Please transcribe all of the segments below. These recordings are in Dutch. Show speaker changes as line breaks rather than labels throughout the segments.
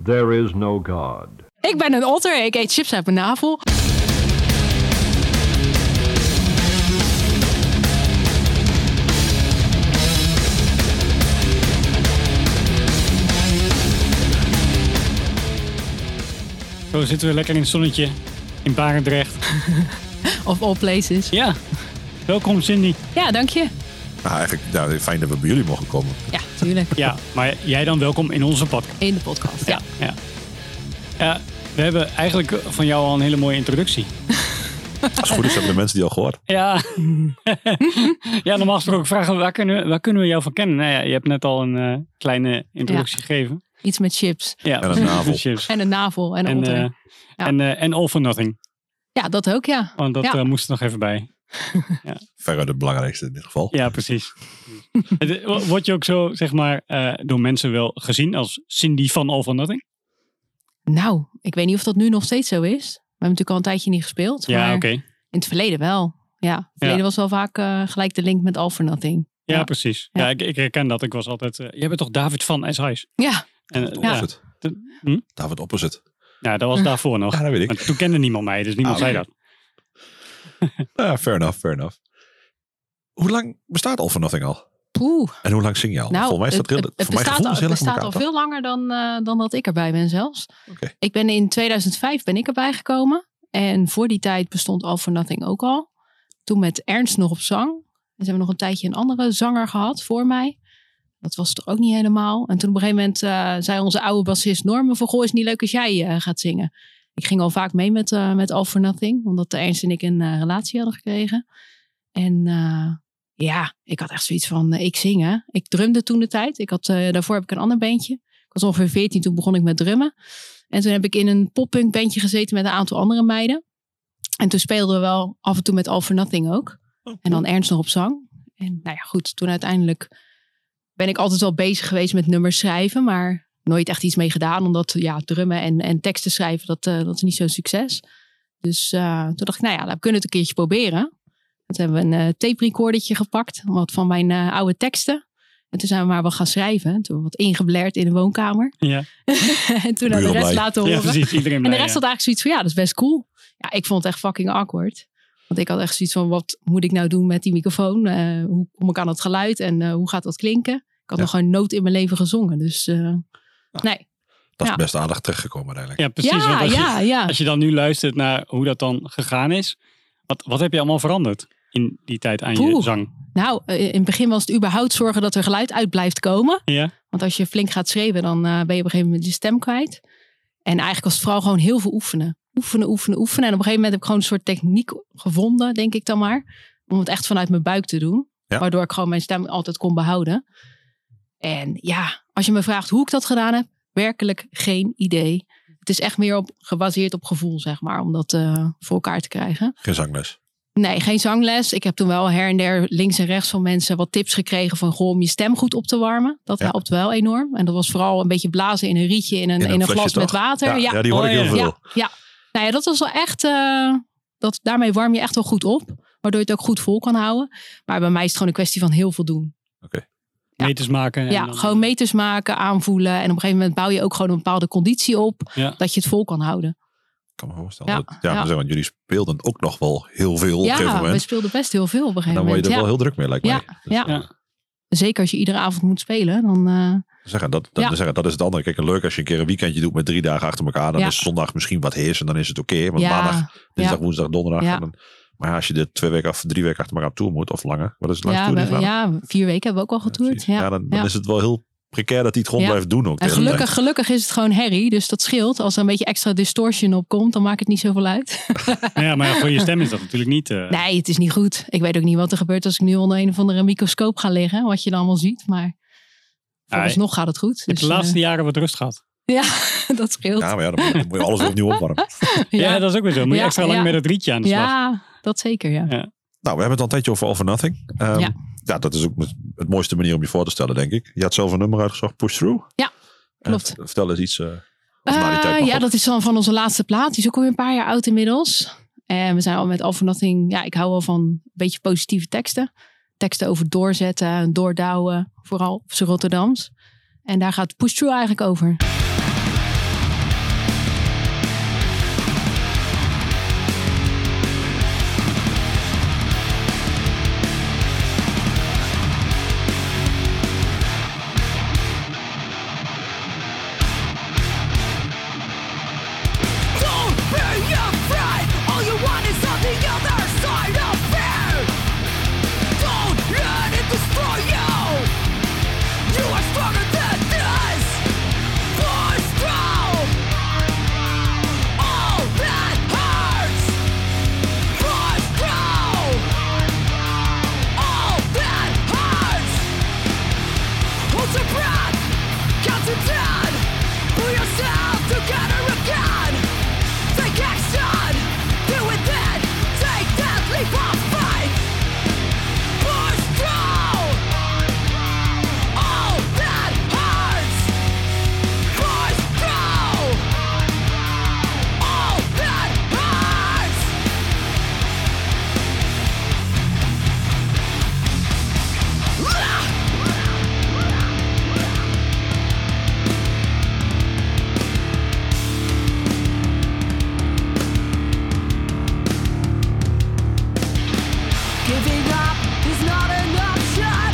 There is no God.
Ik ben een otter, ik eet chips uit mijn navel.
Zo zitten we lekker in het zonnetje in Barendrecht.
Of all places.
Ja, welkom Cindy.
Ja, dank je.
Nou, eigenlijk nou, fijn dat we bij jullie mogen komen.
Ja, tuurlijk.
Ja, maar jij dan welkom in onze podcast.
In de podcast. Ja.
Ja. Ja, we hebben eigenlijk van jou al een hele mooie introductie.
Als het goed is hebben de mensen die al gehoord.
Ja, ja normaal gesproken vragen we waar kunnen, we- waar kunnen we jou van kennen? Nou ja, je hebt net al een eh, kleine introductie gegeven.
Iets met chips.
Ja,
En een navel.
precies.
En een navel en een
En,
otter.
eh,
Ja.
en, eh, en All for Nothing,
ja, dat ook, ja.
want dat
Ja.
eh, moest er nog even bij.
Verre de belangrijkste in dit geval.
Ja, precies. Het- eh, wo- Word je ook zo, zeg maar, eh, door mensen wel gezien als Cindy van All for Nothing?
Nou, ik weet niet of dat nu nog steeds zo is. We hebben natuurlijk al een tijdje niet gespeeld.
Ja,
maar
oké.
in het verleden wel. Ja, het verleden was wel vaak eh, gelijk de link met All for Nothing.
Ja,
Ja.
precies. Ja,
Ja.
ik, ik herken dat. Ik was altijd, eh, jij bent toch David van SI's?
Ja,
En, eh,
David
ja.
Opposite.
De- hm?
David Opposite.
ja, dat was daarvoor nog.
Ja, dat weet ik.
Maar toen kende niemand mij, dus niemand
Ah,
zei
oké.
dat.
Ja, fair enough, fair enough. Hoe lang bestaat All for Nothing al?
poeh.
En hoe lang zing je al?
Nou,
Volgens mij staat heel,
het, het, het
voor mijn
bestaat,
gevoel
al,
is
het
heel
bestaat
erg elkaar,
al
toch?
veel langer dan, eh, dan dat ik erbij ben zelfs.
Oké.
Ik ben in 2005 ben ik erbij gekomen. En voor die tijd bestond All for Nothing ook al. Toen met Ernst nog op zang. En ze hebben nog een tijdje een andere zanger gehad voor mij. Dat was toch ook niet helemaal. En toen op een gegeven moment eh, zei onze oude bassist Norman van... Goh, is het niet leuk als jij eh, gaat zingen? Ik ging al vaak mee met, eh, met All for Nothing. Omdat de Ernst en ik een eh, relatie hadden gekregen. En eh, ja, ik had echt zoiets van, eh, ik zing hè. Ik drumde toen de tijd. Ik had, eh, daarvoor heb ik een ander bandje. Ik was ongeveer 14, toen begon ik met drummen. En toen heb ik in een pop-punk bandje gezeten met een aantal andere meiden. En toen speelden we wel af en toe met All for Nothing ook. En dan Ernst nog op zang. En nou ja, goed, toen uiteindelijk ben ik altijd wel bezig geweest met nummers schrijven. Maar nooit echt iets mee gedaan, omdat ja, drummen en, en teksten schrijven, dat, eh, dat is niet zo'n succes. Dus eh, toen dacht ik, nou ja, laat- we kunnen het een keertje proberen. En Toen hebben we een eh, tape recordertje gepakt, wat van mijn eh, oude teksten. En toen zijn we maar wat gaan schrijven. Toen hebben we wat ingeblerd in de woonkamer.
Ja,
en toen aan de rest
Buren blij.
laten horen.
ja precies. Iedereen
En de
blij,
rest
ja.
had eigenlijk zoiets van, ja, dat is best cool. Ja, ik vond het echt fucking awkward. Want ik had echt zoiets van, wat moet ik nou doen met die microfoon? Eh, hoe kom ik aan het geluid en eh, hoe gaat dat klinken? Ik had
Ja.
nog geen noot in mijn leven gezongen. Dus eh, nee.
Dat is
Ja.
best aardig terechtgekomen uiteindelijk.
Ja, precies. want
ja,
als,
ja,
je,
ja.
als je dan nu luistert naar hoe dat dan gegaan is, wat, wat heb je allemaal veranderd in die tijd aan je
Poeh.
zang?
Nou, eh, in het begin was het überhaupt zorgen dat er geluid uit blijft komen.
Ja,
Want als je flink gaat schreeuwen, dan eh, ben je op een gegeven moment je stem kwijt. En eigenlijk was het vooral gewoon heel veel oefenen. Oefenen, oefenen, oefenen. En op een gegeven moment heb ik gewoon een soort techniek gevonden, denk ik dan maar. Om het echt vanuit mijn buik te doen.
Ja.
Waardoor ik gewoon mijn stem altijd kon behouden. En ja, als je me vraagt hoe ik dat gedaan heb, werkelijk geen idee. Het is echt meer op, gebaseerd op gevoel, zeg maar, om dat eh, voor elkaar te krijgen.
Geen zangles.
Nee, geen zangles. Ik heb toen wel her en der links en rechts van mensen wat tips gekregen van goh, om je stem goed op te warmen. Dat
Ja.
helpt wel enorm. En dat was vooral een beetje blazen in een rietje in een, in een,
flesje,
glas met
toch?
water.
Ja,
Ja,
ja, die hoor
Oh,
ik heel
ja.
veel.
Ja. Nou ja, dat was wel echt. eh, dat, daarmee warm je echt wel goed op. Waardoor je het ook goed vol kan houden. Maar bij mij is het gewoon een kwestie van heel veel doen. Ja.
meters maken. en
ja,
dan-
gewoon meters maken, aanvoelen. En op een gegeven moment bouw je ook gewoon een bepaalde conditie op.
Ja.
Dat je het vol kan houden.
Ik kan me voorstellen.
Ja,
Dat- Ja, maar
ja.
Zeg, want jullie speelden ook nog wel heel veel op een gegeven
Ja, we
moment.
speelden best heel veel op een
En
gegeven
dan word je
moment.
er wel
Ja.
heel druk mee, lijkt mij. Dus,
ja.
eh,
Zeker als je iedere avond moet spelen. Dan, eh,
Zeggen, dat, dat,
Ja.
zeggen, dat is het andere. Kijk, en leuk als je een keer een weekendje doet met drie dagen achter elkaar. Dan
Ja.
is zondag misschien wat heers en dan is het oké. want
ja,
maandag, dinsdag,
ja.
woensdag, donderdag.
Ja.
en dan- maar ja, als je dit twee weken of drie weken achter elkaar op tour moet, of langer. Wat is het langst
Ja,
toer die
we-
gedaan
ja, vier weken hebben we ook al
hebt?
getoerd.
precies.
Ja,
dan, dan
ja.
is het wel heel precair dat hij het gewoon
Ja.
blijft doen ook. de
En
hele tijd.
gelukkig, gelukkig is het gewoon herrie, dus dat scheelt. Als er een beetje extra distortion op komt, dan maakt het niet zoveel uit.
Nou ja, maar voor je stem is dat natuurlijk niet. eh,
Nee, het is niet goed. Ik weet ook niet wat er gebeurt als ik nu onder een of andere microscoop ga liggen. Wat je dan allemaal ziet, maar vooralsnog gaat het goed.
Ik heb
Dus,
de laatste jaren wat rust gehad.
eh, ja, dat scheelt.
Ja, maar ja, dan moet je- dan moet je alles weer opnieuw opwarmen.
Ja, dat is ook weer zo. Moet je
Ja,
extra lang
ja.
met het rietje aan de slag.
Ja, dat zeker, ja.
Nou, we hebben het al een tijdje over All for Nothing. Ehm,
Ja.
ja. dat is ook het- het mooiste manier om je voor te stellen, denk ik. Je had zelf een nummer uitgezocht, Push Through.
Ja,
En
klopt.
v- vertel eens iets. eh, of na die tijd
Eh,
mag
ja,
op.
dat is dan van onze laatste plaat. Die is ook alweer een paar jaar oud inmiddels. En we zijn al met All for Nothing. Ja, ik hou wel van een beetje positieve teksten. Teksten over doorzetten en doordouwen. Vooral op z'n Rotterdams. En daar gaat Push Through eigenlijk over.
Together with God, take action, do it then, take that leap of faith. Push through all that hurts. Push through all that hurts. Giving up is not an option.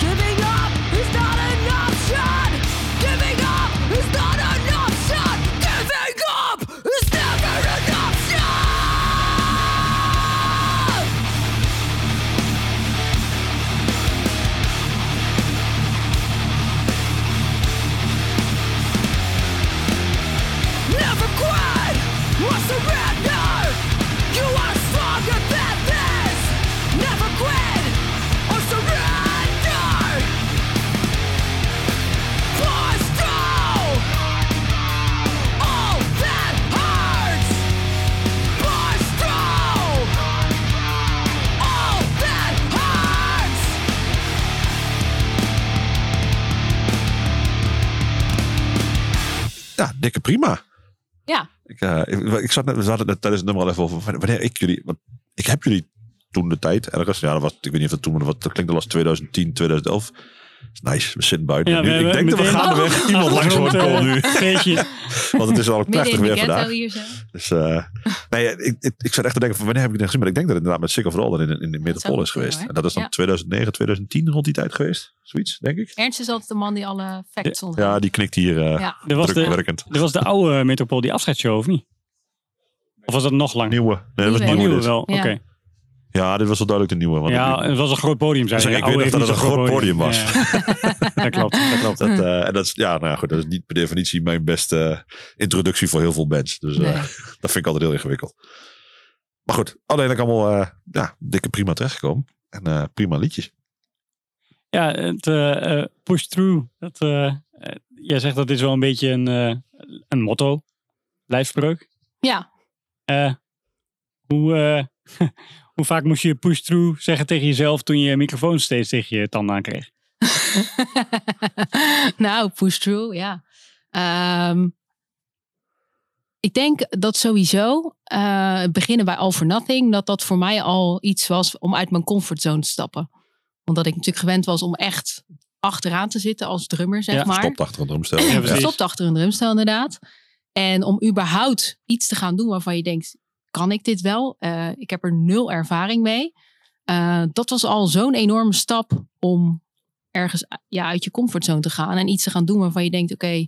Giving up is not an option. Giving up is not an option. Giving up is never an option. Never quit or surrender. You are stronger than this. Never quit or surrender. Push through all that hurts. Push through all that hurts.
Ja, dikke prima.
Ja.
Ik, eh, ik, ik zat net, we zaten net tijdens het nummer al even over. wanneer- Wanneer ik jullie. Want ik heb jullie toen de tijd ergens. Ja, dat was, ik weet niet of dat toen. maar Dat, dat klinkt dat was 2010, 2011. Is Nice, we zitten buiten.
Ja,
Nu-
we
ik
hebben
denk dat we
Oh.
meteen- Oh,
gaandeweg iemand langs horen
Achtergrond,
komen
eh,
nu.
Feestje.
Want het is al
Midden
prachtig
in de
weer
ghetto
vandaag.
hier zo.
Dus, eh, nee, ik, ik, ik zat echt te denken van wanneer heb ik het gezien? Maar ik denk dat het inderdaad met Sick of Roll in, in de
zou
metropool
goed kunnen,
is geweest.
hoor.
En dat is dan
Ja.
2009, 2010 rond die tijd geweest. Zoiets, denk ik.
Ernst is altijd de man die alle facts onthoudt.
Ja, die knikt hier eh
Ja.
Er was,
druk
de,
werkend.
er was de oude Metropool, die afscheidsshow, of niet? Of was dat nog langer?
Nieuwe. Nee, dat was
Nieuwe.
Oh,
nieuwe. dus.
nieuwe
dit.
wel, oké.
Ja.
Ja, dit was wel duidelijk de nieuwe. Want
Ja,
ik,
het was een groot podium, zei
Dus
je.
ik
Oude
weet nog
heeft niet
dat het
zo'n
een groot podium
Ja. dat klopt, dat klopt.
dat, eh, en dat is, ja, nou ja, goed, dat is niet per definitie mijn beste eh, introductie voor heel veel bands. Dus eh,
Nee.
dat vind ik altijd heel ingewikkeld. Maar goed, uiteindelijk allemaal eh, ja, dikke prima terechtgekomen. En eh, prima liedjes.
Ja, het eh, eh, push through. Dat, eh, eh, jij zegt dat is wel een beetje een, eh, een motto, lijfspreuk.
Ja.
Eh, hoe, eh, hoe vaak moest je push through zeggen tegen jezelf toen je microfoon steeds tegen je tanden aankreeg?
nou, push through, ja. Ehm, ik denk dat sowieso eh, beginnen bij All for Nothing, dat dat voor mij al iets was om uit mijn comfortzone te stappen. Omdat ik natuurlijk gewend was om echt achteraan te zitten als drummer, zeg
Ja,
maar.
Stopt achter een drumstel.
Ja, precies.
Stopt achter een drumstel, inderdaad. En om überhaupt iets te gaan doen waarvan je denkt: kan ik dit wel? Eh, ik heb er nul ervaring mee. Eh, dat was al zo'n enorme stap om ergens eh, ja, uit je comfortzone te gaan en iets te gaan doen waarvan je denkt: oké,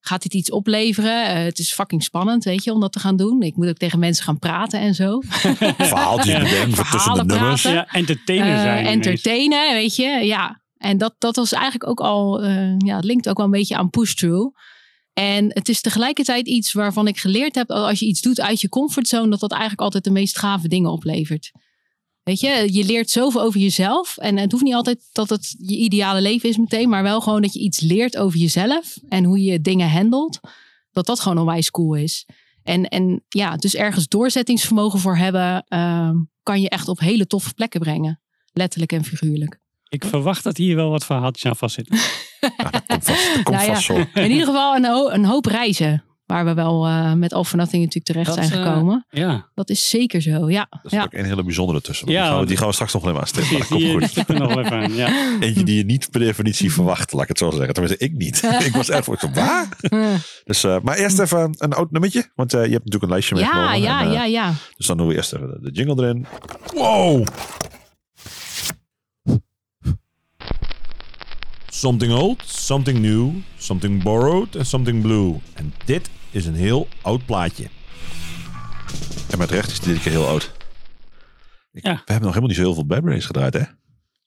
gaat dit iets opleveren? Eh, het is fucking spannend, weet je, om dat te gaan doen. Ik moet ook tegen mensen gaan praten en zo.
Verhaaltjes
Ja.
bedenken voor tussen de
Verhalen
nummers.
praten.
Ja, entertainer
Eh,
zijn. ineens.
entertainen, weet je. Ja. En dat, dat was eigenlijk ook al, eh, ja, het linkt ook wel een beetje aan push-through. En het is tegelijkertijd iets waarvan ik geleerd heb, dat als je iets doet uit je comfortzone, dat dat eigenlijk altijd de meest gave dingen oplevert. Weet je, je leert zoveel over jezelf. En het hoeft niet altijd dat het je ideale leven is meteen, maar wel gewoon dat je iets leert over jezelf en hoe je dingen handelt. Dat dat gewoon onwijs cool is. En, en ja, dus ergens doorzettingsvermogen voor hebben, ehm, kan je echt op hele toffe plekken brengen. Letterlijk en figuurlijk.
Ik verwacht dat hier wel wat verhaaltjes aan vastzitten.
Ja, dat komt vast, dat komt
Nou ja.
vast zo.
In ieder geval een, ho- een hoop reizen. Waar we wel eh, met All for Nothing natuurlijk terecht
Dat,
zijn
eh,
gekomen.
Ja,
Dat is zeker zo, ja.
Dat is
Ja.
ook een hele bijzondere tussen. want
Ja,
die, gaan we,
want-
die gaan we straks nog wel even aanstippen. maar
precies. Die die
dat komt goed.
zit er nog wel even aan. Ja.
Eentje die je niet per definitie verwacht, laat ik het zo zeggen. Tenminste, ik niet. ik was echt van, waar? Dus, eh, maar eerst even een oud nummertje. Want eh, je hebt natuurlijk een lijstje
ja,
meegenomen.
ja,
en, eh,
ja, ja.
Dus dan doen we eerst even de jingle erin. Wow!
Something old, something new, something borrowed en something blue. En dit is een heel oud plaatje.
En met recht is dit keer heel oud. Ik-
Ja.
We hebben nog helemaal niet zo heel veel Bad Brains gedraaid, hè?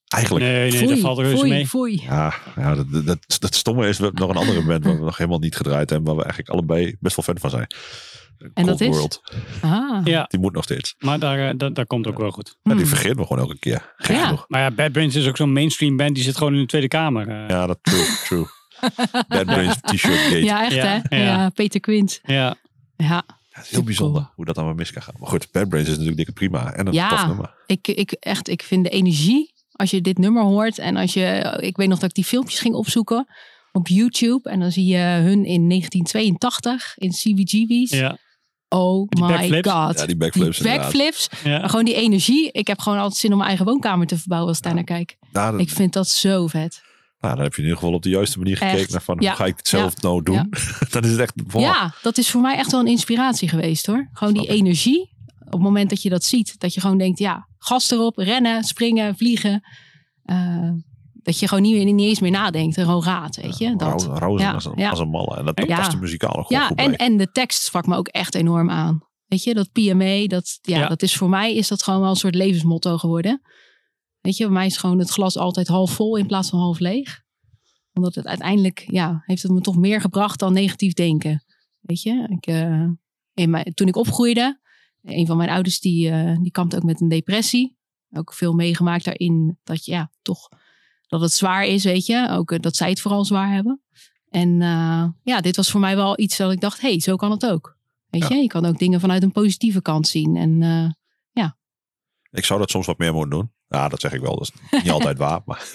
Eigenlijk.
Nee, nee, dat
Foei,
valt reuze
foei,
mee.
foei.
Ja, ja dat, dat, dat, dat stomme is, we hebben nog een andere band waar we nog helemaal niet gedraaid hebben. Waar we eigenlijk allebei best wel fan van zijn.
En dat is?
World.
Ah,
Ja,
Die moet nog steeds.
maar daar, eh, dat, dat komt ook wel goed.
Ja, die
Hmm.
vergeet me gewoon elke keer. Gek
Ja.
genoeg.
Maar ja, Bad Brains is ook zo'n mainstream band. Die zit gewoon in de Tweede Kamer. eh.
Ja, dat true, true. Bad Brains t-shirt gate.
Ja, echt
Ja,
hè?
ja.
Ja. Peter Quint.
Ja,
Ja,
Het is heel bijzonder hoe dat dan weer mis kan gaan. Maar goed, Bad Brains is natuurlijk dikke prima. En een
Ja.
tof nummer.
ik, ik, echt, ik vind de energie als je dit nummer hoort. En als je, eh, ik weet nog dat ik die filmpjes ging opzoeken op YouTube. En dan zie je hun in 1982 in CBGB's.
ja,
Oh
Die
my
backflips.
god.
Ja, die backflips
Die
inderdaad.
backflips. Maar
ja.
gewoon die energie. Ik heb gewoon altijd zin om mijn eigen woonkamer te verbouwen als ik daar naar kijk.
Nou, dat-
Ik vind dat zo vet.
nou, dan heb je in ieder geval op de juiste manier
Echt.
gekeken. Naar van,
Ja.
Hoe ga ik het zelf nou doen?
Ja.
dan is het echt... wow.
Ja, dat is voor mij echt wel een inspiratie geweest hoor. Gewoon die
Snap ik.
energie. Op het moment dat je dat ziet. Dat je gewoon denkt, ja, gas erop. Rennen, springen, vliegen. Eh, dat je gewoon niet, niet eens meer nadenkt. en Gewoon raadt, weet je. dat.
Rauw- rauw zijn
Ja,
als, een,
ja.
als een malle. En dat, dat
Ja.
past de muzikaal nog
Ja,
goed
en,
bij.
en de tekst sprak me ook echt enorm aan. Weet je, dat PMA, dat, ja,
Ja.
dat is voor mij is dat gewoon wel een soort levensmotto geworden. Weet je, bij mij is gewoon het glas altijd half vol in plaats van half leeg. Omdat het uiteindelijk, ja, heeft het me toch meer gebracht dan negatief denken. Weet je, ik, eh, in mijn, toen ik opgroeide, een van mijn ouders die, eh, die kampte ook met een depressie. Ook veel meegemaakt daarin dat je, ja, toch dat het zwaar is, weet je. Ook eh, dat zij het vooral zwaar hebben. En eh, ja, dit was voor mij wel iets dat ik dacht, hé, hey, zo kan het ook. Weet
Ja.
je, je kan ook dingen vanuit een positieve kant zien. En eh,
Ik zou dat soms wat meer moeten doen. Ja, dat zeg ik wel. Dat is niet altijd waar. Maar,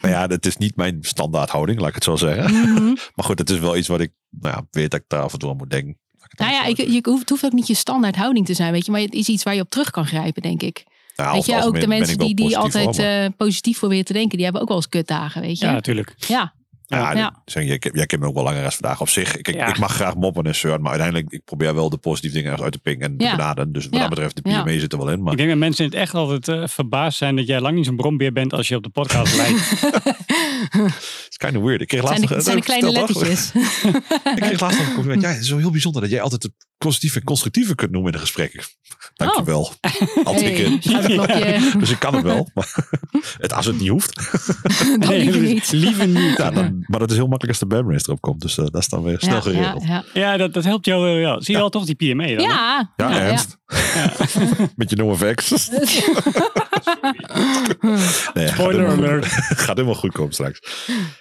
maar ja, dat is niet mijn standaardhouding, laat ik het zo zeggen.
mhm.
Maar goed, het is wel iets wat ik nou ja, weet dat ik daar af en toe aan moet denken. Laat ik het
nou
anders
ja, ik,
zeggen.
je, hoeft, het hoeft ook niet je standaard houding te zijn, weet je. Maar het is iets waar je op terug kan grijpen, denk ik.
Nou, over
weet
het
je, ook
algemeen
de
ben
mensen
ik wel
die, die
positief, hoor,
altijd
maar-
eh, positief proberen te denken, die hebben ook wel eens kutdagen, weet je.
ja,
Ja,
natuurlijk.
Ja,
eh, Ja.
dat- Zeg, jij, ken- jij kent me ook wel langer als vandaag op zich. Ik, ik-
Ja.
ik mag graag moppen en zeuren, maar uiteindelijk ik probeer wel de positieve dingen ergens uit te pikken en te
Ja.
benaderen. Dus wat
Ja.
dat betreft, de
Ja.
PME zit er wel in. Maar
Ik denk dat mensen in het echt altijd eh, verbaasd zijn dat jij lang niet zo'n brombeer bent als je op de podcast lijkt.
het is kind of weird. Ik
het
kreeg
zijn
laatst
de, het zijn de
nog-
kleine
stel toch?
lettertjes.
Ik kreeg laatst nog een compliment. Ja, het is wel heel bijzonder dat jij altijd het positieve en constructieve kunt noemen in een gesprek. Dankjewel. wel.
Oh. Hey, schouderklopje.
Dus ik kan het wel. Maar het, als het niet hoeft.
Dat liever niet.
liever niet.
Ja, dan, maar dat is heel makkelijk als de badminton erop komt. Dus eh, dat is dan weer snel
Ja,
geregeld.
Ja, ja.
Ja, dat, dat helpt jou wel. Zie je wel toch die PMA dan? hè?
Ja, ja,
Ja,
ja.
ernst. Met je NoFX. Nee, gaat
Spoiler
helemaal goed.
alert.
gaat helemaal goed komen straks.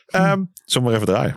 Ehm zullen we maar even draaien?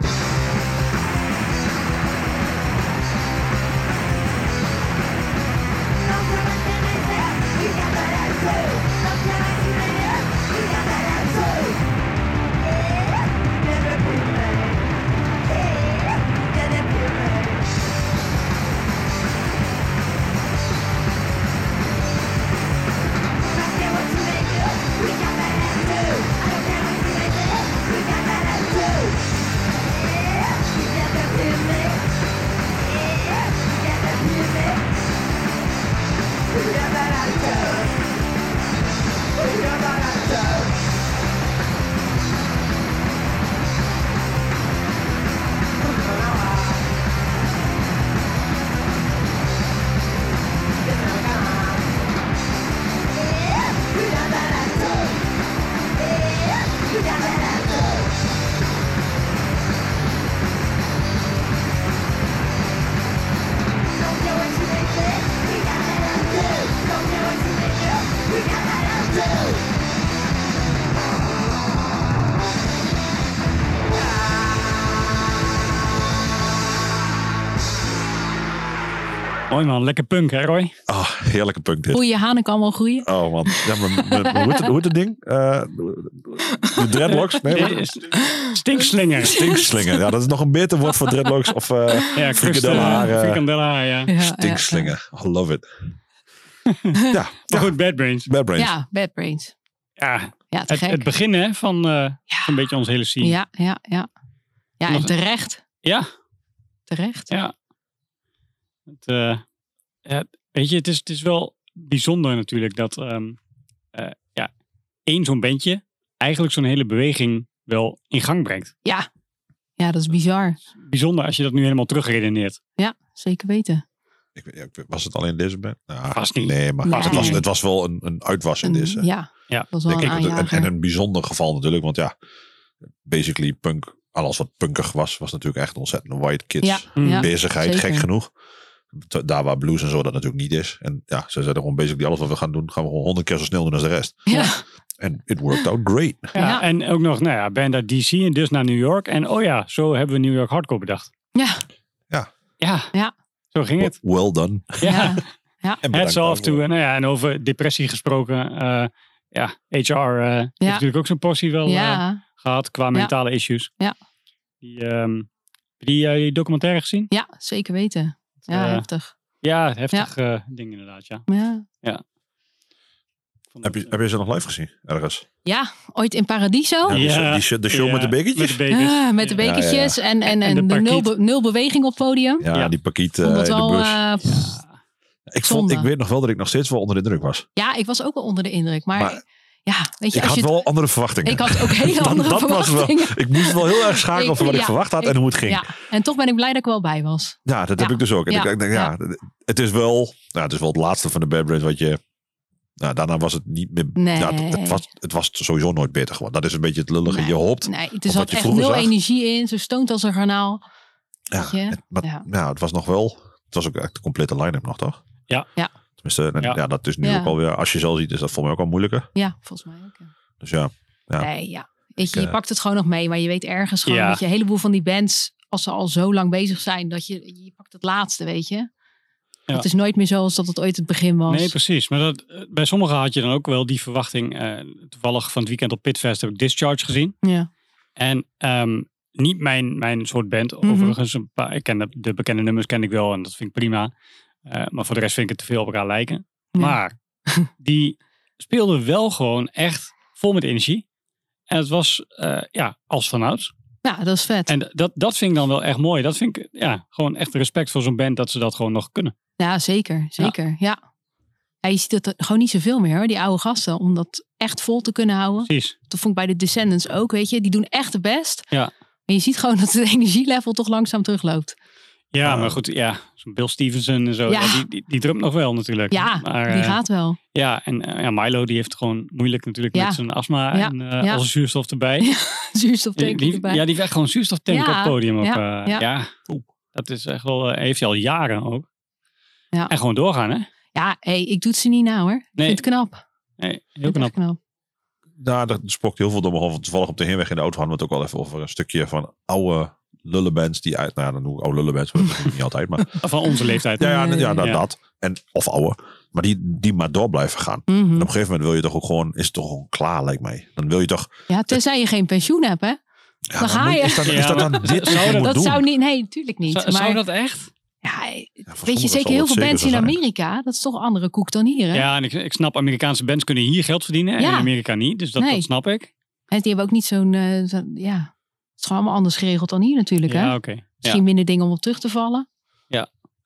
Mooi man, lekker punk hè Roy?
Oh, heerlijke punk dit.
Hoe je hanen kan wel groeien.
Oh man, ja, maar, maar- maar hoe, heet het, hoe heet het ding? Eh, de dreadlocks? Nee, wat-
Eh, st- Stinkslinger.
stinkslinger. Ja, dat is nog een beter woord voor dreadlocks of eh
Ja,
frikandellenhaar, eh,
Frikandelhaar. Frikandelhaar, ja.
Ja, ja,
stinkslinger. I Oh, love it. Ja,
Maar
ja
goed, Bad Brains.
Bad
Ja,
Brains.
ja bad brains.
Ja,
Ja, te
het,
gek.
het begin hè, van eh,
Ja.
een beetje ons hele scene.
Ja, ja, ja. Ja, en
Nog-
terecht.
Ja,
Terecht.
ja. Het, eh, ja, weet je, het is, het is wel bijzonder natuurlijk dat ehm, eh, ja, één zo'n bandje eigenlijk zo'n hele beweging wel in gang brengt.
Ja. Ja, dat is bizar.
Bijzonder als je dat nu helemaal terugredeneert.
Ja, zeker weten.
Ik weet- ja, ik weet- was het alleen deze band? Nou,
Vast niet.
Nee, maar
Nee.
Het, was, het was wel een, een uitwas in
Een-
deze.
ja,
Ja,
dat was wel een
Denk eh, ik. En,
aanjager.
en een bijzonder geval natuurlijk, want ja, basically punk, alles wat punkig was, was natuurlijk echt ontzettend white kids
ja, ja,
bezigheid,
zeker.
gek genoeg. Te- Daar waar blues en zo dat natuurlijk niet is. En ja, ze zeiden gewoon basically alles wat we gaan doen, gaan we gewoon honderd keer zo snel doen als de rest.
Ja.
En it worked out great.
Ja,
Ja.
En ook nog, nou ja, ben naar DC en dus naar New York. En oh ja, zo hebben we New York Hardcore bedacht.
Ja.
Ja.
Ja.
Ja.
Zo ging het.
Well done.
Ja.
Ja.
En
Hats
bedankt
off to,
daarvoor.
eh, nou ja, en over depressie gesproken. eh, ja, HR eh, heeft natuurlijk ook zijn portie wel eh,
Ja.
gehad qua mentale issues.
Ja.
Die, ehm, heb je die, eh, die documentaire gezien?
ja, zeker weten. Ja,
Eh,
heftig.
ja, heftig eh, ding inderdaad, ja.
Ja.
Vond eh,
Heb
ik,
je, heb je ze nog live gezien? Ergens.
ja, ooit in Paradiso.
Ja,
Ja.
die show- die, show- de show
Ja,
met de
eh, met
bekertjes.
de bekers.
Ah, met de
Ja.
bekertjes en, en, en,
de
de nul,
parkiet.
be- nul beweging op het podium.
Ja,
Ja.
die pakiet eh,
Vond
in
dat
de
wel,
bus.
eh, pff,
ik, vond, ik
zonde.
weet nog wel dat ik nog steeds wel onder de indruk was.
ja, ik was ook wel onder de indruk. Maar,
Maar
ja, weet je,
ik
als
had
je het-
wel andere verwachtingen.
ik had ook hele
Dat-
andere
dat was wel-
verwachtingen.
Ik moest wel heel erg schakelen
Ik-
van wat ik
ja,
verwacht had
ik-
en hoe het ging.
Ja, en toch ben ik blij dat ik er wel bij was.
Ja, dat
Ja.
heb ik dus ook. En
Ja.
ik- ik denk, ja, het is wel, nou, het is wel het laatste van de Bad Brains wat je. Nou, daarna was het niet meer.
Nee.
Ja, het, het was, het was sowieso nooit beter geworden. Dat is een beetje het lullige.
Nee.
Je hoopt.
Nee, het
Of wat
zat
je
echt
vroeger
nul
zag.
energie in. Zo stoont als een garnaal.
Ja,
Weet je?
het, maar
Ja.
ja. het was nog wel. Het was ook echt de complete line-up nog, toch?
Ja.
Ja.
Tenminste, en-
Ja.
ja. dat is nu
Ja.
ook alweer. Als je zelf ziet, is dat voor mij ook al moeilijker.
Ja, volgens mij ook. ja.
Dus ja, Ja.
Nee, ja. Weet je, je
eh,
pakt het gewoon nog mee. Maar je weet ergens gewoon
Ja.
dat je een heleboel van die bands... als ze al zo lang bezig zijn, dat je, je pakt het laatste, weet je.
Ja.
Het is nooit meer zoals dat het ooit het begin was.
Nee, precies. Maar dat, eh, bij sommigen had je dan ook wel die verwachting. eh, toevallig van het weekend op Pitfest heb ik Discharge gezien.
Ja.
En ehm, niet mijn, mijn soort band.
Mhm.
Overigens, een paar, ik ken de, de bekende nummers ken ik wel en dat vind ik prima. Eh, maar voor de rest vind ik het te veel op elkaar lijken.
Ja.
Maar die speelden wel gewoon echt vol met energie. En het was eh, ja, als vanouds.
Ja, dat is vet.
En dat, dat vind ik dan wel echt mooi. Dat vind ik ja, gewoon echt respect voor zo'n band dat ze dat gewoon nog kunnen.
Ja, zeker. Zeker, ja. ja. je ziet het gewoon niet zoveel meer, hoor, die oude gasten. Om dat echt vol te kunnen houden.
Precies.
Dat vond ik bij de Descendants ook, weet je. Die doen echt het best.
Ja.
Maar je ziet gewoon dat het energielevel toch langzaam terugloopt.
Ja,
Ja.
maar goed, ja, zo'n Bill Stevenson en zo,
Ja.
ja. die, die, die drumt nog wel natuurlijk.
Ja,
maar,
die
eh,
gaat wel.
Ja, en eh, ja, Milo die heeft gewoon moeilijk natuurlijk
Ja.
met zijn astma
Ja,
en eh
ja.
als zuurstof erbij.
Zuurstof
Die- die-
erbij.
ja, die weg gewoon zuurstof tanken
Ja,
op het podium. Op,
ja,
eh,
ja.
ja, Oeh, dat is echt wel, eh, heeft hij al jaren ook.
Ja.
En gewoon doorgaan, hè?
Ja, hey, ik doe het ze niet na hoor. Ik
Nee.
vind het knap. Ik
Nee, heel
vind het
knap.
echt knap.
Nou, dat spookt heel veel door me heen. Want Toevallig op de heenweg in de auto hadden we het ook al even over een stukje van oude lullenbands die uit, nou ja, dan noem ik oude lullenbands, maar dat doe ik niet altijd, maar
Van onze leeftijd.
ja, ja, ja,
Ja.
dat, dat. En, of oude, maar die, die maar door blijven gaan. En
Mhm.
op een gegeven moment wil je toch ook gewoon, is het toch gewoon klaar, lijkt mij. Dan wil je toch,
Ja, tenzij je geen pensioen hebt, hè?
ja,
Dan ga je.
Is dat, is
Ja,
dat dan
maar-
dit wat je
zou
moet
Dat
doen?
zou niet. Nee, natuurlijk niet.
Zou,
maar
zou dat echt?
ja,
Ja, voor
weet je,
sommigen
zeker
zal
heel veel
dat zeker
bands
zo
in
zijn.
Amerika, dat is toch een andere koek dan hier, hè?
Ja, en ik, ik snap, Amerikaanse bands kunnen hier geld verdienen en
Ja.
in Amerika niet. Dus dat,
Nee.
dat snap ik.
En die hebben ook niet zo'n, eh, zo- ja, het is gewoon allemaal anders geregeld dan hier natuurlijk, hè?
Ja, oké. Ja.
Misschien minder dingen om op terug te vallen.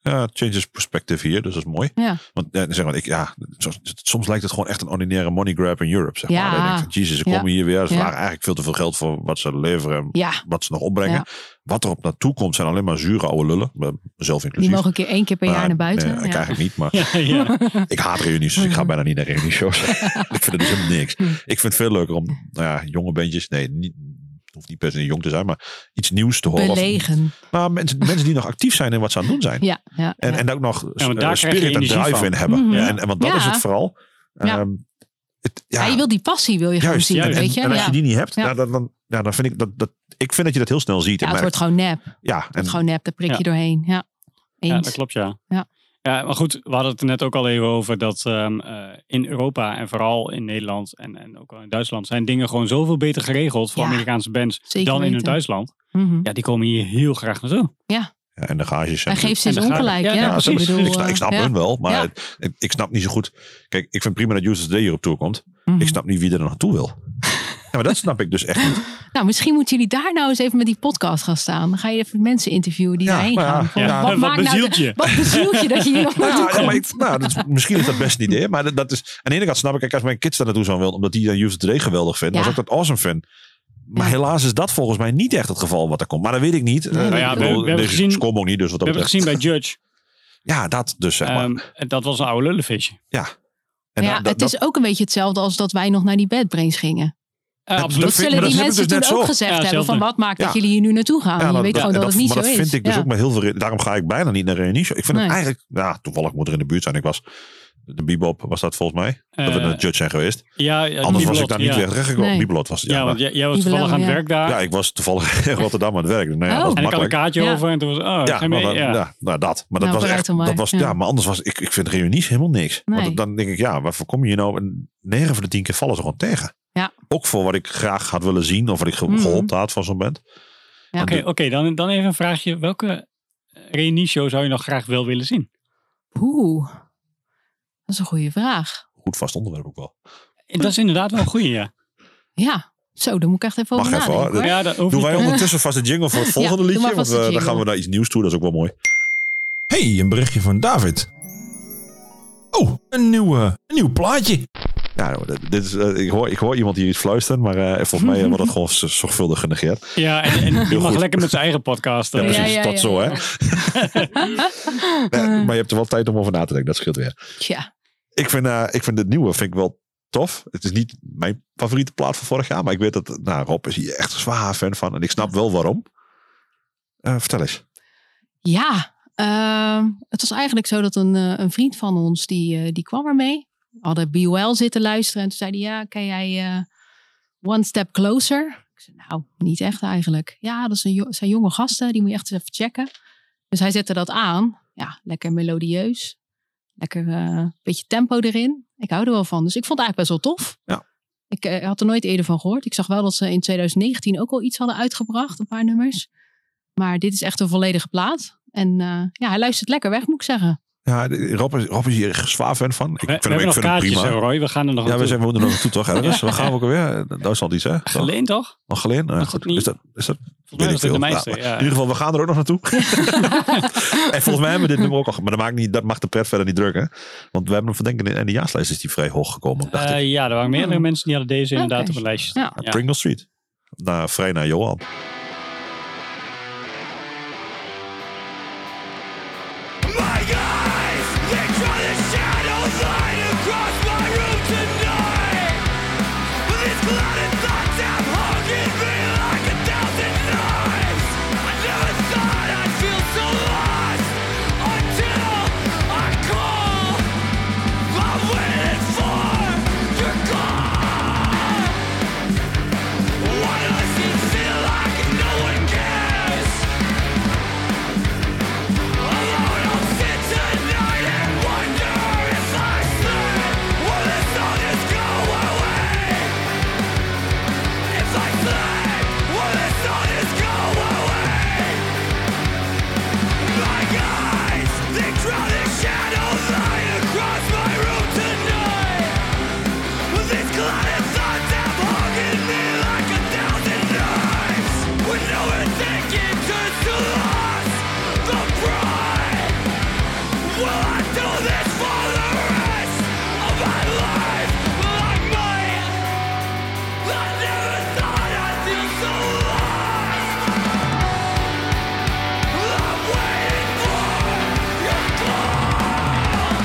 Ja, changes perspective hier, dus dat is mooi.
Ja.
Want eh, zeg maar, ik, ja, zo- soms lijkt het gewoon echt een ordinaire money grab in Europe. Zeg maar.
Ja.
Dan denk je van, jezus, ze
Ja.
komen hier weer. Ze
Ja.
vragen eigenlijk veel te veel geld voor wat ze leveren en
Ja,
wat ze nog opbrengen.
Ja.
Wat er op naartoe komt zijn alleen maar zure oude lullen. Zelf
die
inclusief.
mogen een keer één keer per jaar
Maar, eh,
naar buiten.
nee,
ja.
Ik eigenlijk niet, maar
Ja, ja.
ik haat reunies, dus ik
Mhm.
ga bijna niet naar reunieshows. ik vind het dus helemaal niks. Ik vind het veel leuker om nou ja, jonge bandjes, nee, niet, het hoeft niet per se jong te zijn, maar iets nieuws te horen. Of-
Belegen.
Nou, mensen, mensen die nog actief zijn in wat ze aan het doen zijn.
Ja, ja.
En,
ja.
en ook nog
Ja, want daar
eh,
krijg je
spirit en
energie
drive
van.
in hebben.
Mhm.
Ja, En, en want dat
Ja.
is het vooral.
Ja.
Ehm, het- ja,
Ja, je wilt die passie wil je gewoon
juist.
zien,
en,
weet je?
en als
ja.
je die niet hebt,
Ja.
ja, dan, dan, ja, dan vind ik dat, dat... Ik vind dat je dat heel snel ziet.
ja,
en
het wordt
merkt.
gewoon nep. Het
ja, en,
wordt gewoon nep, daar prik je
Ja.
doorheen. Ja,
Ja,
eens.
dat klopt, ja.
Ja.
Ja, maar goed, we hadden het er net ook al even over dat ehm, eh, in Europa en vooral in Nederland en, en ook al in Duitsland zijn dingen gewoon zoveel beter geregeld voor
Ja,
Amerikaanse bands
zeker
dan in het
weten.
Duitsland.
Mhm.
Ja, die komen hier heel graag naartoe.
ja, en de gages.
Hij
en-
geeft ze
en
eens
dan ga je-
ongelijk. Ja,
Ja,
Ja,
nou,
precies.
Ik bedoel,
ik, snap,
eh,
ik snap
ja.
hun wel, maar
Ja.
het- ik, ik snap niet zo goed. Kijk, ik vind prima dat Users Day hierop toekomt.
Mhm.
Ik snap niet wie er naartoe wil. Ja, maar dat snap ik dus echt niet.
Nou, misschien moeten jullie daar nou eens even met die podcast gaan staan. Dan ga je even mensen interviewen die
Ja,
daarheen
maar ja,
gaan. Van,
ja.
Wat, maakt nou
bezielt
de-
je?
wat bezielt je dat je hier nog
Nou,
naartoe
ja, maar
komt?
ik- nou, dat is- misschien is dat best een idee. Maar dat, dat is, aan de ene kant snap ik, kijk, als mijn kids daar naartoe zouden willen, omdat die dan Users Day geweldig vinden,
Ja.
als ik dat awesome vind. Maar
Ja.
helaas is dat volgens mij niet echt het geval wat er komt. Maar dat weet ik niet. Eh,
Nou ja,
ik
we-
bedoel,
we hebben
deze
gezien-
ze komen ook niet, dus wat
We
dat
hebben gezien
betreft.
bij Judge.
Ja, dat dus, zeg maar.
ehm, en dat was een oude lullenvisje.
en
ja,
dat- dat-
het is ook een beetje hetzelfde als dat wij nog naar die bedbrains gingen.
Eh,
Dat-
absoluut.
Dat
vind-
zullen
maar
die
dat
mensen
hebben we
toen
dus net
ook
zo.
gezegd
Ja,
hebben van
hetzelfde.
wat maakt dat
Ja.
jullie hier nu naartoe gaan.
maar
je weet gewoon
en
dat, het niet zo
maar dat
is.
vind ik dus
Ja.
ook bij heel veel... re- Daarom ga ik bijna niet naar reunies. Ik vind
Nee.
het eigenlijk... Ja, toevallig moet er in de buurt zijn. Ik was... De Bebop was dat volgens mij. dat we
Eh,
naar de judge zijn geweest.
ja, ja,
Anders was
Bibelot,
ik daar niet
ja.
weer terechtgekomen.
Nee.
Bibelot was het,
Ja,
ja,
want
maar-
jij, jij was
Die
toevallig aan
willen,
het
ja.
werk daar.
ja, ik was toevallig in Rotterdam aan het werk. Nou ja,
Oh.
dat
Ah, en
was
ik had een
makkelijk.
kaartje
Ja.
over en toen was oh,
Ja,
ga je
maar
mee?
dat,
ja.
ja. nou, dat. Maar dat
Nou,
was
bereid
echt.
dan maar,
Dat was,
ja.
ja. maar anders was ik. Ik vind reunies helemaal niks.
Nee.
Want dan denk ik, ja, waarvoor kom je nou? En 9 van de 10 keer vallen ze gewoon tegen.
Ja.
Ook voor wat ik graag had willen zien of wat ik ge-
Mhm.
gehoopt had van zo'n band.
Ja.
Oké, oké, dan, dan even een vraagje. Welke reunieshow zou je nog graag wel willen zien?
Oeh, dat is een goede vraag.
Goed vast onderwerp ook wel.
Dat is inderdaad wel een goeie, ja.
Ja, zo, dan moet ik echt even over
Mag even,
nadenken.
hoor.
hoor.
ja dat hoeft
Doen wij
niet.
ondertussen vast de jingle voor het volgende
doe maar
liedje? Want
vast
we-
de
dan
jingle.
gaan we naar iets nieuws toe. Dat is ook wel mooi.
Hey, een berichtje van David. Oh, een, nieuwe, een nieuw plaatje.
Ja, dit- dit is, eh, ik, hoor, ik hoor iemand hier iets fluisteren, maar eh, volgens mij eh, wordt dat gewoon z- zorgvuldig genegeerd.
Ja, en, en die
Heel
mag
goed.
lekker met zijn eigen podcast. eh,
Ja, precies.
Ja, ja,
dat
ja,
zo,
ja.
hè? Ja, maar je hebt er wel tijd om over na te denken. Dat scheelt weer.
Tja,
ik vind, eh, ik vind het nieuwe vind ik wel tof. Het is niet mijn favoriete plaat van vorig jaar. Maar ik weet dat nou, Rob is hier echt een zwaar fan van. En ik snap wel waarom. Eh, vertel eens.
ja. ehm, het was eigenlijk zo dat een, eh, een vriend van ons, die, eh, die kwam ermee. We hadden BUL zitten luisteren en toen zei hij, ja, ken jij eh, One Step Closer? Ik zei, nou, niet echt eigenlijk. Ja, dat is een jo- zijn jonge gasten, die moet je echt eens even checken. Dus hij zette dat aan. Ja, lekker melodieus. Lekker eh beetje tempo erin. Ik hou er wel van. Dus ik vond het eigenlijk best wel tof.
Ja.
Ik eh, had er nooit eerder van gehoord. Ik zag wel dat ze in 2019 ook al iets hadden uitgebracht, een paar nummers. Maar dit is echt een volledige plaat. En eh, ja, hij luistert lekker weg, moet ik zeggen.
Ja, de- Rob is, Rob is hier echt een zwaar fan van. Ik
we we
vind hem,
hebben nog
ik vind hem
kaartjes,
prima.
hè, Roy. We gaan er nog
Ja, we
naartoe.
zijn we moeten er naartoe toch ergens. We gaan ook alweer. eh, Duitsland iets, hè? Toch?
Geleend, toch?
Nog geleden? Nou,
Was
goed.
dat niet?
Is dat, is dat,
Volgens mij was
weet
dit
ik
de
veel.
meeste.
Nou, maar
Ja,
In ieder geval, we gaan er ook nog naartoe. en volgens mij hebben we dit nummer ook al. Maar dat, maakt niet, dat mag de pret verder niet drukken. Want we hebben hem van denk ik in de eindejaarslijst is die vrij hoog gekomen. Dacht ik.
Eh, ja, er waren meerdere
Oh.
mensen die hadden deze inderdaad
Oké.
op een lijstje.
Ja.
staan.
Ja. Pringle Street. Na, vrij naar Johan.
My eyes, they draw the shadow line across my room tonight. With these clouded thoughts have hung in me like a thousand knives. I never thought I'd feel so lost until I call. I'm waiting for your call. Why does it feel like no one cares? If I sleep, will this all just go away? My eyes, they crowded shadows lie across my room tonight. With these clouded thoughts have hung in me like a thousand knives. When no one thinking turns to loss, the pride. Will I do this for the rest of my life? Will I might. I never thought I'd feel so lost. I'm waiting for your call.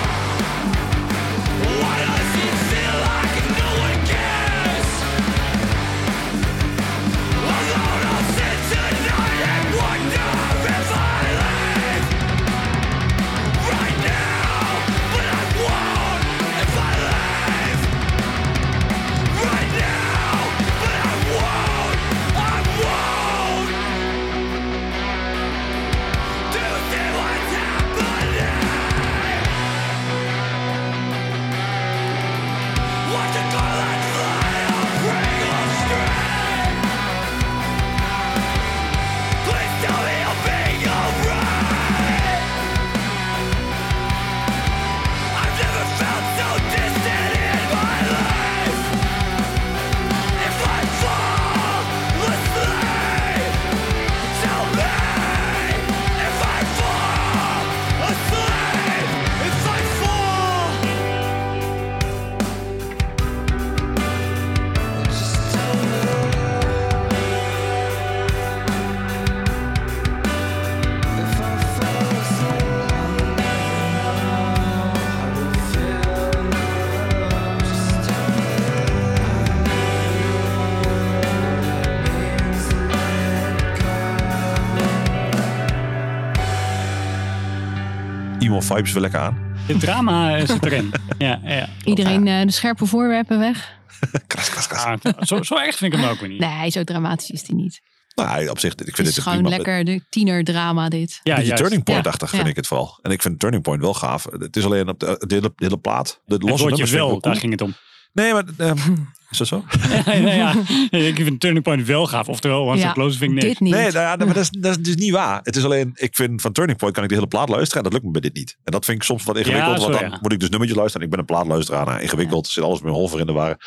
emo vibes weer lekker aan.
Het drama eh, zit erin. Ja, ja.
Iedereen eh, de scherpe voorwerpen weg.
Kras, kras, kras.
Ah, het- zo, zo erg vind ik hem ook weer niet.
Nee, zo dramatisch is die niet.
Nou, op zich, ik
Het
vind dit
is
een
gewoon
prima.
lekker de tienerdrama dit.
Ja,
beetje
juist.
Turning Point-achtig
Ja,
vind
ja.
ik het vooral. En ik vind Turning Point wel gaaf. Het is alleen op de, de, hele, de hele plaat. De
Het
losse
woordje
nummers vind ik
wel,
wel cool.
daar ging het om.
Nee, maar... ehm, is dat zo?
nee, ja. Ik vind Turning Point wel gaaf. Oftewel, Once
Ja,
ja. Close vind ik niks.
dit niet.
Nee, nou ja, maar dat is, dat is dus niet waar. Het is alleen, ik vind van Turning Point kan ik de hele plaat luisteren. En dat lukt me bij dit niet. En dat vind ik soms wat ingewikkeld.
Ja, zo,
want dan
ja.
moet ik dus nummertjes luisteren. En ik ben een plaatluisteraar. Nou, ingewikkeld. Zit alles met holver in de war.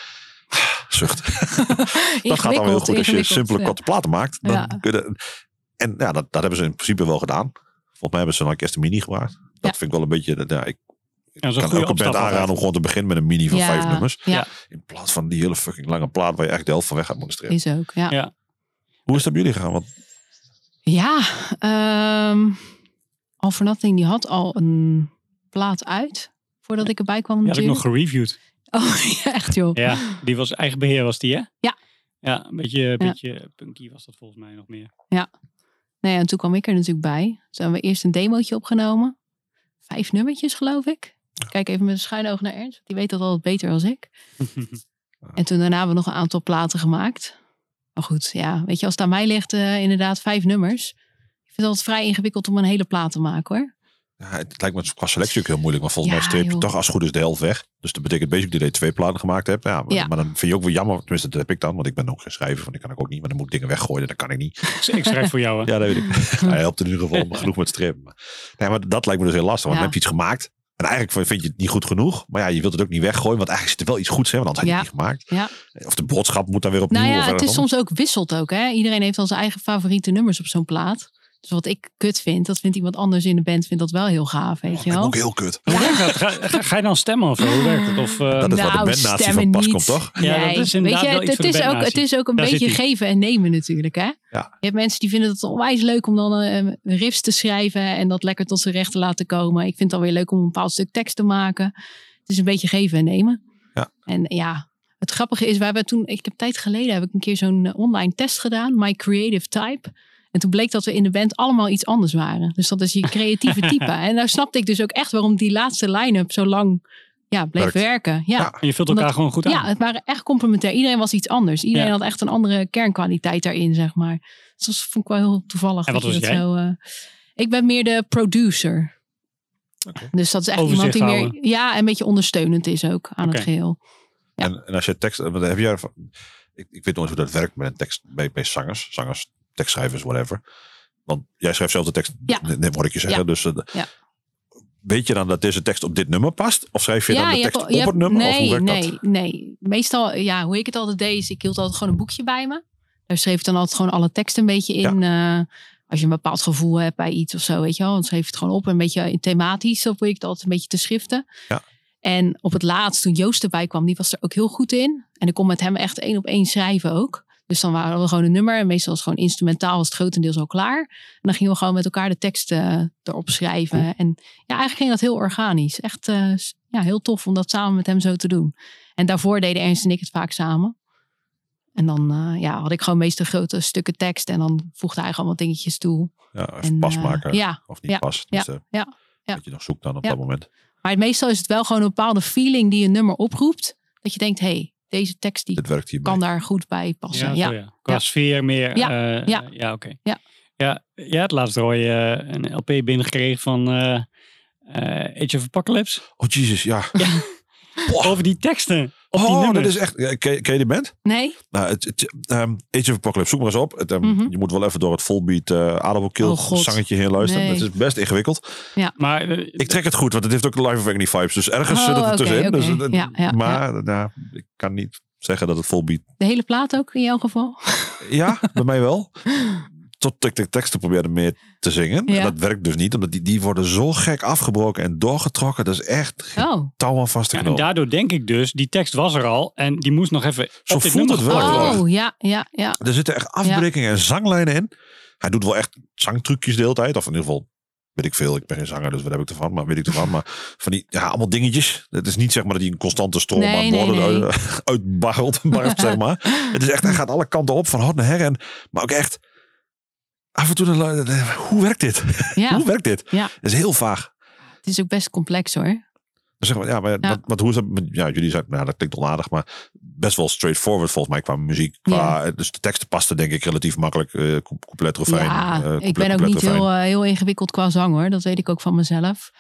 Zucht. dat gaat dan heel goed. Als je
ingewikkeld,
simpele
ja.
korte platen maakt. Dan
Ja.
kun je- en ja, dat, dat hebben ze in principe wel gedaan. Volgens mij hebben ze een orkest een mini gemaakt. Dat
Ja.
vind ik wel een beetje... dat- Ja, ik
Ja, dat is een
kan
goede
elke
opstap.
band aanraden om
altijd.
gewoon te beginnen met een mini van
Ja,
vijf nummers.
Ja,
In plaats van die hele fucking lange plaat waar je echt de helft van weg gaat moeten strepen.
is ook. Ja,
Ja.
Hoe is dat bij jullie gegaan? Want
ja ehm, All for Nothing die had al een plaat uit. Voordat ik erbij kwam
Die had ik nog
natuurlijk.
gereviewd.
Oh, ja, echt joh.
Ja, die was eigen beheer was die, hè?
Ja.
Ja, een beetje, een beetje punky was dat volgens mij nog meer.
Nou ja, en toen kwam ik er natuurlijk bij. Toen hebben we eerst een demootje opgenomen. Vijf nummertjes, geloof ik. Ik Kijk even met een schuin oog naar Ernst. want Die weet dat altijd beter dan ik. en toen daarna hebben we nog een aantal platen gemaakt. Maar goed, ja, weet je, als het aan mij ligt, eh, inderdaad vijf nummers. Ik vind het altijd vrij ingewikkeld om een hele plaat te maken hoor.
ja, het lijkt me qua selectie ook heel moeilijk. Maar volgens
Ja,
mij streep je
joh.
toch als het goed is de helft weg. Dus dat betekent basic dat je twee platen gemaakt hebt. Ja, maar,
Ja.
maar dan vind je ook wel jammer. Tenminste, dat heb ik dan. Want ik ben ook geen schrijver. Want ik kan ik ook niet. Maar dan moet ik dingen weggooien. En dat kan ik niet.
Ik- Ik schrijf voor jou, hè?
Ja, dat weet ik. Hij helpt in ieder geval me genoeg met strepen. Maar, nee, maar dat lijkt me dus heel lastig. Want
Ja.
dan heb je iets gemaakt. En eigenlijk vind je het niet goed genoeg. Maar ja, je wilt het ook niet weggooien. Want eigenlijk zit er wel iets goeds in. Want anders had je het niet
Ja.
gemaakt. Of de boodschap moet dan weer opnieuw.
Nou
of
ja, het
ergens
is
anders.
soms ook wisselt ook. Hè? Iedereen heeft dan zijn eigen favoriete nummers op zo'n plaat. Dus wat ik kut vind, dat vindt iemand anders in de band, vindt dat wel heel gaaf, weet je
Ik ben
wel.
ook heel kut.
Hoe werkt dat? Ga, ga- ga je dan stemmen of zo? Hoe werkt het? Of, eh,
Dat is waar de
Nou,
bandnatie van
stemmen
pas
niet.
komt, toch?
Ja, dat is inderdaad wel iets
het,
voor de
is ook,
bandnatie.
het is ook een
Daar
beetje
zit die.
geven en nemen natuurlijk. Hè?
Ja.
Je hebt mensen die vinden het onwijs leuk om dan eh, riffs te schrijven en dat lekker tot zijn recht te laten komen. Ik vind het alweer leuk om een bepaald stuk tekst te maken. Het is een beetje geven en nemen.
Ja.
En ja, het grappige is, wij hebben toen, ik heb tijd geleden heb ik een keer zo'n eh, online test gedaan, My Creative Type. En toen bleek dat we in de band allemaal iets anders waren. Dus dat is je creatieve type. En daar snapte ik dus ook echt waarom die laatste line-up zo lang ja, bleef
Werkt.
werken. Ja.
Ja.
En je vult elkaar
Omdat-
gewoon goed aan.
Ja, het waren echt complementair. Iedereen was iets anders. Iedereen
Ja.
had echt een andere kernkwaliteit daarin, zeg maar. Dus dat vond ik wel heel toevallig.
En wat
dat je
was
dat
jij?
Zo, eh, ik ben meer de producer. Dus dat is echt iemand
Overzicht
die meer...
houden.
Ja, en een beetje ondersteunend is ook aan
Oké.
het geheel. Ja.
En, en als je tekst, want heb jij, ik, ik weet nooit hoe dat werkt met een tekst bij, bij zangers, zangers, tekstschrijvers, whatever. Want jij schrijft zelf de tekst,
Ja.
net hoor ik je zeggen. Dus, eh,
Ja.
Weet je dan dat deze tekst op dit nummer past? Of schrijf je dan de
je
tekst
hebt
op
al- je
het
hebt-
nummer? of
Nee,
hoe werkt
nee,
dat?
nee. Meestal, ja, hoe ik het altijd deed, is ik hield altijd gewoon een boekje bij me. Daar schreef ik dan altijd gewoon alle teksten een beetje in. eh, als je een bepaald gevoel hebt bij iets of zo, weet je wel. Dan schreef je het gewoon op, een beetje in thematisch. Dan probeer ik het altijd een beetje te schriften.
Ja.
En op het laatst, toen Joost erbij kwam, die was er ook heel goed in. En ik kon met hem echt één op één schrijven ook. Dus dan waren we gewoon een nummer. En meestal was het gewoon instrumentaal, was het grotendeels al klaar. En dan gingen we gewoon met elkaar de teksten eh, erop schrijven. En ja, eigenlijk ging dat heel organisch. Echt eh, s- ja, heel tof om dat samen met hem zo te doen. En daarvoor deden Ernst en ik het vaak samen. En dan eh, ja, had ik gewoon meestal grote stukken tekst. En dan voegde hij gewoon wat dingetjes toe.
Ja, even
En,
pas
eh,
maken.
ja,
Of niet
ja,
pas.
ja,
Dus, eh,
ja, ja.
Dat je nog zoekt dan op
Ja.
dat moment.
maar meestal is het wel gewoon een bepaalde feeling die een nummer oproept. Dat je denkt, hé, hey, deze tekst die
Dit werkt hierbij.
kan daar goed bij
Ja,
passen.
zo,
Ja,
ja, Qua
Ja.
sfeer meer.
Ja,
Ja, ja.
ja.
ja oké.
Ja.
Ja, ja, het laatste hoor je eh, een LP binnengekregen van eh, eh, Age of Apocalypse.
Oh Jesus, ja. Oh.
Over die teksten. Op die
Oh,
nummers.
dat is echt. ja, Ken, je- ken je die band?
Nee?
Nou, het, het, ehm, Age of Apocalypse, zoek maar eens op. Het, ehm,
Mhm.
Je moet wel even door het volbeat eh aardappelkill
Oh, God.
zangetje heen luisteren.
Nee.
Het is best ingewikkeld.
Maar eh,
Ik trek het goed, want het heeft ook de Live of Agony vibes. Dus ergens zit het
Oh,
er
oké,
tussenin.
oké.
Dus, het-
Ja, ja,
maar nou, ik kan niet zeggen dat het vol biedt.
De hele plaat ook in jouw geval?
Ja, bij mij wel. Tot ik de teksten probeerde meer te zingen.
Ja.
En dat werkt dus niet, omdat die, die worden zo gek afgebroken en doorgetrokken. Dat is echt geen
Oh,
touw aan vast te
ja, en
knopen.
daardoor denk ik dus, die tekst was er al en die moest nog even
Zo
op dit
voelt
nummer
het wel.
geplakt worden.
oh ja, ja, ja.
Er zitten echt afbrekingen en zanglijnen in. Hij doet wel echt zangtrucjes de hele tijd. Of in ieder geval, weet ik veel. Ik ben geen zanger, dus wat heb ik ervan? Maar weet ik ervan. Maar van die, ja, allemaal dingetjes. Het is niet zeg maar dat hij een constante stroom
Nee,
aan
nee,
woorden
nee.
uit- uitbarrelt. barft, zeg maar. Het is echt, hij gaat alle kanten op van hot naar her. En, maar ook echt, af en toe, dan lu- hoe werkt dit?
ja.
Hoe werkt dit?
Ja.
Het is heel vaag.
Het is ook best complex hoor.
Dan zeggen we, ja, maar wat, wat- hoe is dat? met- Ja, jullie zeiden, nou, dat klinkt onaardig, maar best wel straightforward volgens mij qua muziek. Qua, Dus de teksten pasten denk ik relatief makkelijk. eh co- compleet refrein.
ja,
eh, compleet-
ik ben ook
compleet
niet
refrein.
heel, eh, heel ingewikkeld qua zang hoor. Dat weet ik ook van mezelf.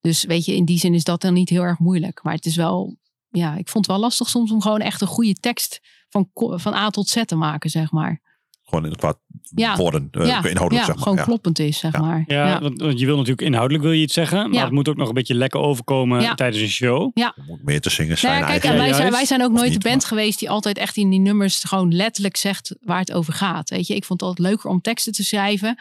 Dus weet je, in die zin is dat dan niet heel erg moeilijk. Maar het is wel, ja, ik vond het wel lastig soms om gewoon echt een goede tekst van, ko- van A tot Z te maken, zeg maar.
Gewoon in, qua
Ja.
woorden, eh,
ja,
qua inhoudelijk
ja,
zeg maar.
gewoon
Ja.
kloppend is, zeg
Ja.
maar.
Ja, Want, want je wil natuurlijk inhoudelijk wil je iets zeggen, maar
Ja.
het moet ook nog een beetje lekker overkomen
Ja.
tijdens een show.
Er moet meer te zingen zijn
Nou ja, kijk, en
eigenlijk.
wij,
Ja,
zijn, wij
juist.
zijn ook
Of
nooit
niet,
de band
maar-
geweest die altijd echt in die nummers gewoon letterlijk zegt waar het over gaat. Weet je, ik vond het altijd leuker om teksten te schrijven.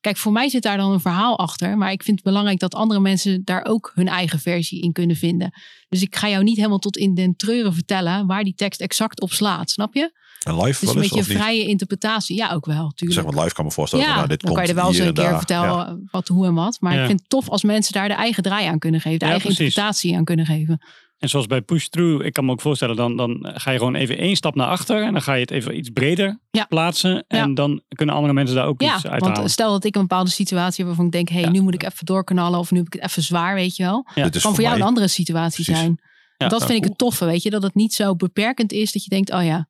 Kijk, voor mij zit daar dan een verhaal achter. Maar ik vind het belangrijk dat andere mensen daar ook hun eigen versie in kunnen vinden. Dus ik ga jou niet helemaal tot in den treuren vertellen waar die tekst exact op slaat. Snap je?
En live
Het is
wel
een
eens,
beetje
of niet?
vrije interpretatie. Ja, ook wel, tuurlijk.
Zeg maar live kan me voorstellen. van,
ja,
nou, dit
dan
komt
kan je er wel eens
hier
een
en
keer
daar.
vertellen
Ja.
wat, hoe en wat. Maar
Ja.
ik vind het tof als mensen daar de eigen draai aan kunnen geven. De
Ja,
eigen
precies.
interpretatie aan kunnen geven.
En zoals bij Push Through, ik kan me ook voorstellen, dan, dan ga je gewoon even één stap naar achter en dan ga je het even iets breder
Ja.
plaatsen. En
Ja.
dan kunnen andere mensen daar ook
Ja,
iets uit
want
halen.
stel dat ik een bepaalde situatie heb waarvan ik denk, hé, hey,
Ja.
nu moet ik even doorknallen of nu heb ik het even zwaar, weet je wel.
Ja.
Dit is
eh, kan voor jou
Dus mij.
een andere situatie
Precies.
zijn.
Ja,
dat
nou,
vind ik
cool.
het toffe, weet je, dat het niet zo beperkend is dat je denkt, oh ja,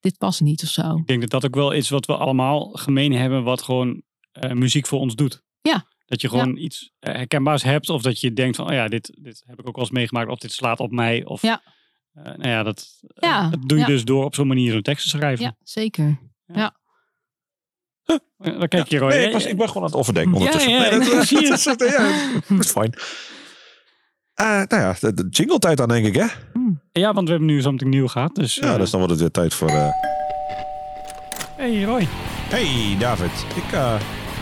dit past niet of zo.
Ik denk dat dat ook wel is wat we allemaal gemeen hebben, wat gewoon eh, muziek voor ons doet.
Ja.
Dat je gewoon iets eh, herkenbaars hebt, of dat je denkt van, oh ja, dit, dit heb ik ook wel eens meegemaakt, of dit slaat op mij. Of,
Ja.
eh, nou ja, dat, eh,
Ja,
dat doe je
ja.
dus door op zo'n manier een tekst te schrijven.
Ja, zeker.
Eh, Dan kijk je gewoon.
Nee,
eh,
ik, was,
eh,
ik ben gewoon aan het overdenken ondertussen.
ja,
nee,
ik
dat,
zie
dat, dat- ja, dat is fijn. Eh, nou ja, de, de jingle tijd dan denk ik, hè?
ja, want we hebben nu something nieuw gehad. Dus,
Ja,
eh,
dus dan wordt het weer tijd voor... eh,
Hey Roy.
Hey David, ik, eh,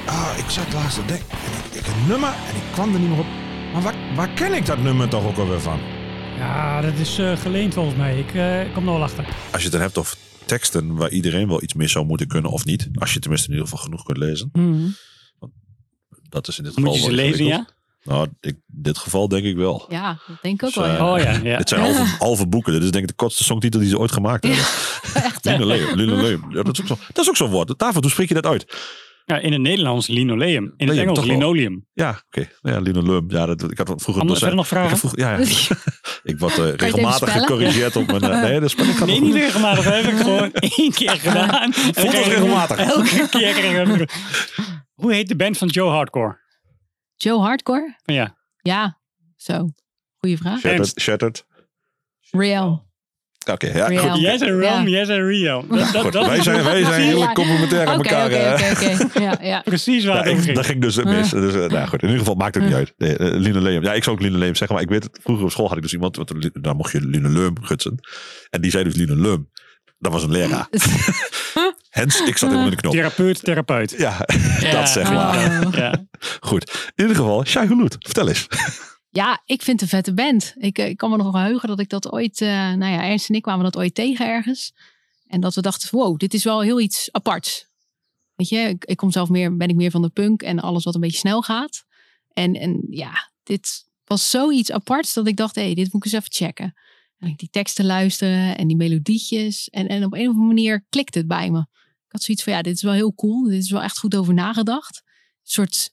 ah, ik zat laatst te denken. en Ik, ik een nummer en ik kwam er niet meer op. Maar waar, waar ken ik dat nummer toch ook alweer van?
Ja, dat is eh, geleend volgens mij. Ik kom er wel achter.
als je het dan hebt over teksten waar iedereen wel iets mee zou moeten kunnen of niet. Als je tenminste in ieder geval genoeg kunt lezen. Dat is in dit geval
Moet je ze
wel
lezen, ja?
ingewikkeld. Nou, Oh, ik, in dit geval denk ik wel.
Ja, dat denk ik ook
Dus,
wel.
eh,
ja.
Oh ja, ja.
Dit zijn halve, halve boeken. Dit is denk ik de kortste songtitel die ze ooit gemaakt hebben. Echt, linoleum. linoleum. Ja, dat, is ook zo, dat is ook zo'n woord. David, hoe spreek je dat uit?
ja. In het Nederlands linoleum. In het
Nee,
Engels
Oh, toch wel.
linoleum.
Ja, oké. Nou Ja, linoleum. Ja, dat, ik had vroeger...
Andere
dus,
verder nog
ik had
vragen?
vroeger- ja, ja. ik word eh,
even
regelmatig
spellen?
gecorrigeerd op mijn... eh, nee, dat spel ik gaat
Nee,
nog
niet
goed.
regelmatig. Dat heb ik gewoon één keer gedaan.
Voelt als regelmatig.
Elke keer kreeg ik Hoe heet de band van Joe Hardcore?
Joe Hardcore?
Van ja.
Ja, zo. Goeie vraag.
Shattered. Shattered.
Real.
Oké, ja.
Real. Ja.
Goed.
Jij zei Rome, jij zei Rio. Dat, dat,
Goed,
dat
wij
is
zijn, wij zijn
Ja.
heel complementair aan
Oké,
elkaar.
oké,
eh.
oké, oké. Ja, ja.
precies waar
Ja,
het over
ik,
ging.
dat ging dus mis. Dus, eh, nou goed, in ieder geval maakt het niet uit. Nee, eh, linoleum. Ja, ik zou ook linoleum zeggen, maar ik weet het. Vroeger op school had ik dus iemand, want li- daar mocht je linoleum gutsen. En die zei dus linoleum. Dat was een leraar. Hens, ik zat helemaal in de knop.
Therapeut, therapeut.
Ja, dat zeg maar.
Oh.
Ja.
Goed. In ieder geval, Shai Hulud, vertel eens.
Ja, ik vind het een vette band. Ik, eh, ik kan me nog wel heugen dat ik dat ooit... eh, nou ja, Ernst en ik kwamen dat ooit tegen ergens. En dat we dachten, wow, dit is wel heel iets aparts. Weet je, ik, ik kom zelf meer, ben ik meer van de punk en alles wat een beetje snel gaat. En, en ja, dit was zoiets aparts dat ik dacht, hé, dit moet ik eens even checken. En ik die teksten luisteren en die melodietjes. En, en op een of andere manier klikte het bij me. Ik had zoiets van, ja, dit is wel heel cool. Dit is wel echt goed over nagedacht. Een soort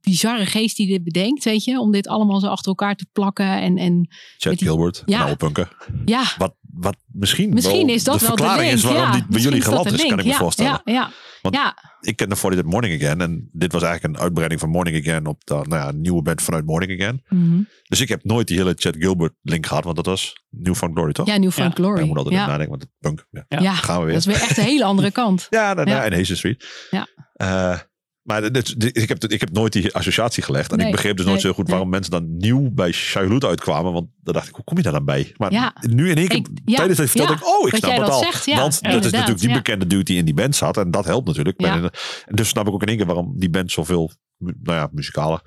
bizarre geest die dit bedenkt, weet je. Om dit allemaal zo achter elkaar te plakken. En, en
Chad
die-
Gilbert,
Ja.
nou punker.
ja,
Wat, wat misschien,
Misschien
wel
is dat
de
wel de
verklaring
link.
is waarom
ja.
die bij
Misschien
jullie
is dat
geland
de
is, kan
link.
ik me
ja,
voorstellen.
Ja, ja.
Want-
ja,
Ik kende voor dit Morning Again. En dit was eigenlijk een uitbreiding van Morning Again op de nou ja, een nieuwe band vanuit Morning Again.
mhm.
Dus ik heb nooit die hele Chad Gilbert link gehad, want dat was New Found Glory, toch?
ja New Found Glory.
Ja, ik moet altijd
ja.
even nadenken, want het punk. Ja,
Ja.
daar gaan we
dat
weer.
is weer echt een hele andere kant.
Ja, nou, daarna
Ja.
in Hazen Street.
Ja.
Eh, maar dit- dit- dit- ik, heb, dit- ik heb nooit die associatie gelegd. En
Nee,
ik begreep dus nooit
nee,
zo goed waarom mensen dan nieuw bij Shailut uitkwamen. Want dan dacht ik, hoe kom je daar dan bij? Maar
Ja.
nu in één keer,
Ik- ja,
tijdens het vertelde
ja,
ik, oh, ik
dat
snap
jij
het
dat
al.
zegt, ja,
want dat is
inderdaad,
natuurlijk die
ja.
bekende dude die in die band zat. En dat helpt natuurlijk.
Ja.
En, en dus snap ik ook in één keer waarom die band zoveel, mu- nou ja, muzikale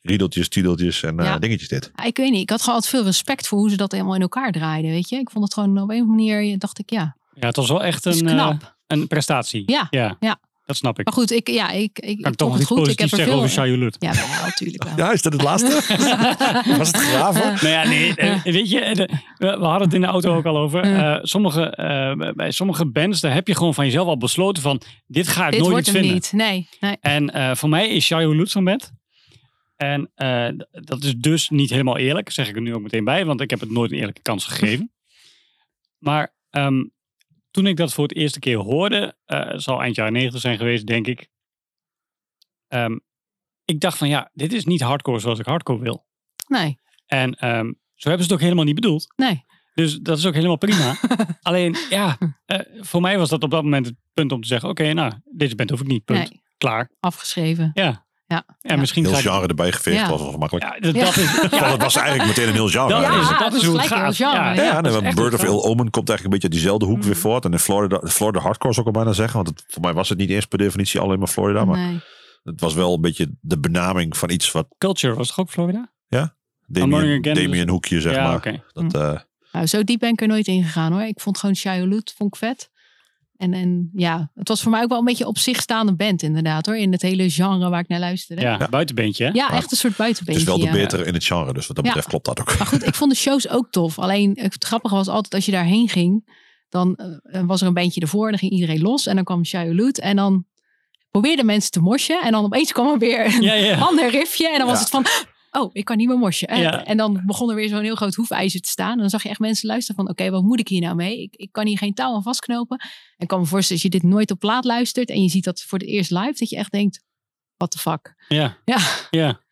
riedeltjes, tiedeltjes en eh,
Ja.
dingetjes dit.
Ja, Ik weet niet, ik had gewoon altijd veel respect voor hoe ze dat helemaal in elkaar draaiden, weet je. Ik vond het gewoon op een of andere manier, dacht ik, ja,
ja, het was wel echt
het is
een,
knap.
eh, een prestatie.
Ja,
ja.
ja.
Dat snap ik.
maar goed, ik, ja, ik, ik,
kan
ik
ik toch
vond
nog
het
iets
goed. Ik heb
positiefs
er
zeggen over
veel...
Shai Hulud?
Ja, wel, natuurlijk wel.
Ja, is dat het laatste? Was het graven?
Nou ja, nee, eh, weet je, eh, de- we we hadden het in de auto ook al over. Eh, sommige, eh, bij sommige bands, daar heb je gewoon van jezelf al besloten van, dit ga ik
Dit
nooit
wordt
iets
hem niet.
vinden.
Nee, nee.
En eh, voor mij is Shai Hulud zo'n band. En eh, d- dat is dus niet helemaal eerlijk, zeg ik er nu ook meteen bij, want ik heb het nooit een eerlijke kans gegeven. Maar ehm, toen ik dat voor het eerste keer hoorde, eh, het zal eind jaren 90 zijn geweest, denk ik. ehm, ik dacht van ja, dit is niet hardcore zoals ik hardcore wil.
Nee,
En ehm, zo hebben ze het ook helemaal niet bedoeld.
nee.
Dus dat is ook helemaal prima. Alleen ja, eh, voor mij was dat op dat moment het punt om te zeggen: oké, nou, dit bent hoef ik niet. Punt.
Nee,
Klaar.
afgeschreven.
Ja.
Ja,
En
ja.
misschien
Heel
ga ik.
genre erbij geveegd
Ja.
was wel gemakkelijk.
Ja, dat, dat is,
Want
ja,
het was eigenlijk meteen een heel genre.
dat
Ja.
is, dat
dat
is
is
hoe het
gelijk
gaat.
heel genre,
Ah Ja,
ja.
Ja, nee,
dat is
want
echt
Bird of
heel
Ill Omen komt eigenlijk een beetje uit diezelfde hoek weer voort. En in Florida, Florida Hardcore zou ik al bijna zeggen. Want het, voor mij was het niet eerst per definitie alleen maar Florida. Maar
Nee.
het was wel een beetje de benaming van iets wat
Culture was toch ook Florida?
Damien,
Morning Again is-
Damien Hoekje, zeg
ja,
maar.
oké.
Dat, eh,
Nou, zo diep ben ik er nooit ingegaan hoor. Ik vond gewoon Shia Lute, vond ik vet. En, en ja, het was voor mij ook wel een beetje op zich staande band inderdaad hoor. In het hele genre waar ik naar luisterde.
Ja, buitenbeentje. hè?
Ja,
Maar
echt een soort
het
buitenbeentje.
is wel de
ja.
betere in het genre. Dus wat dat
Ja.
betreft klopt dat ook.
Maar goed, ik vond de shows ook tof. Alleen het grappige was altijd als je daarheen ging, dan eh, was er een bandje ervoor en dan ging iedereen los. En dan kwam Shia Lute en dan probeerden mensen te morsen. En dan opeens kwam er weer een
Ja, ja.
ander riffje. En dan was
Ja.
het van, oh, ik kan niet meer morsen. En,
Ja.
en dan begon er weer zo'n heel groot hoefijzer te staan. En dan zag je echt mensen luisteren van, oké, wat moet ik hier nou mee? Ik, ik kan hier geen touw aan vastknopen. En ik kan me voorstellen, als je dit nooit op plaat luistert en je ziet dat voor het eerst live, dat je echt denkt, what the fuck?
Ja,
Ja,
ja.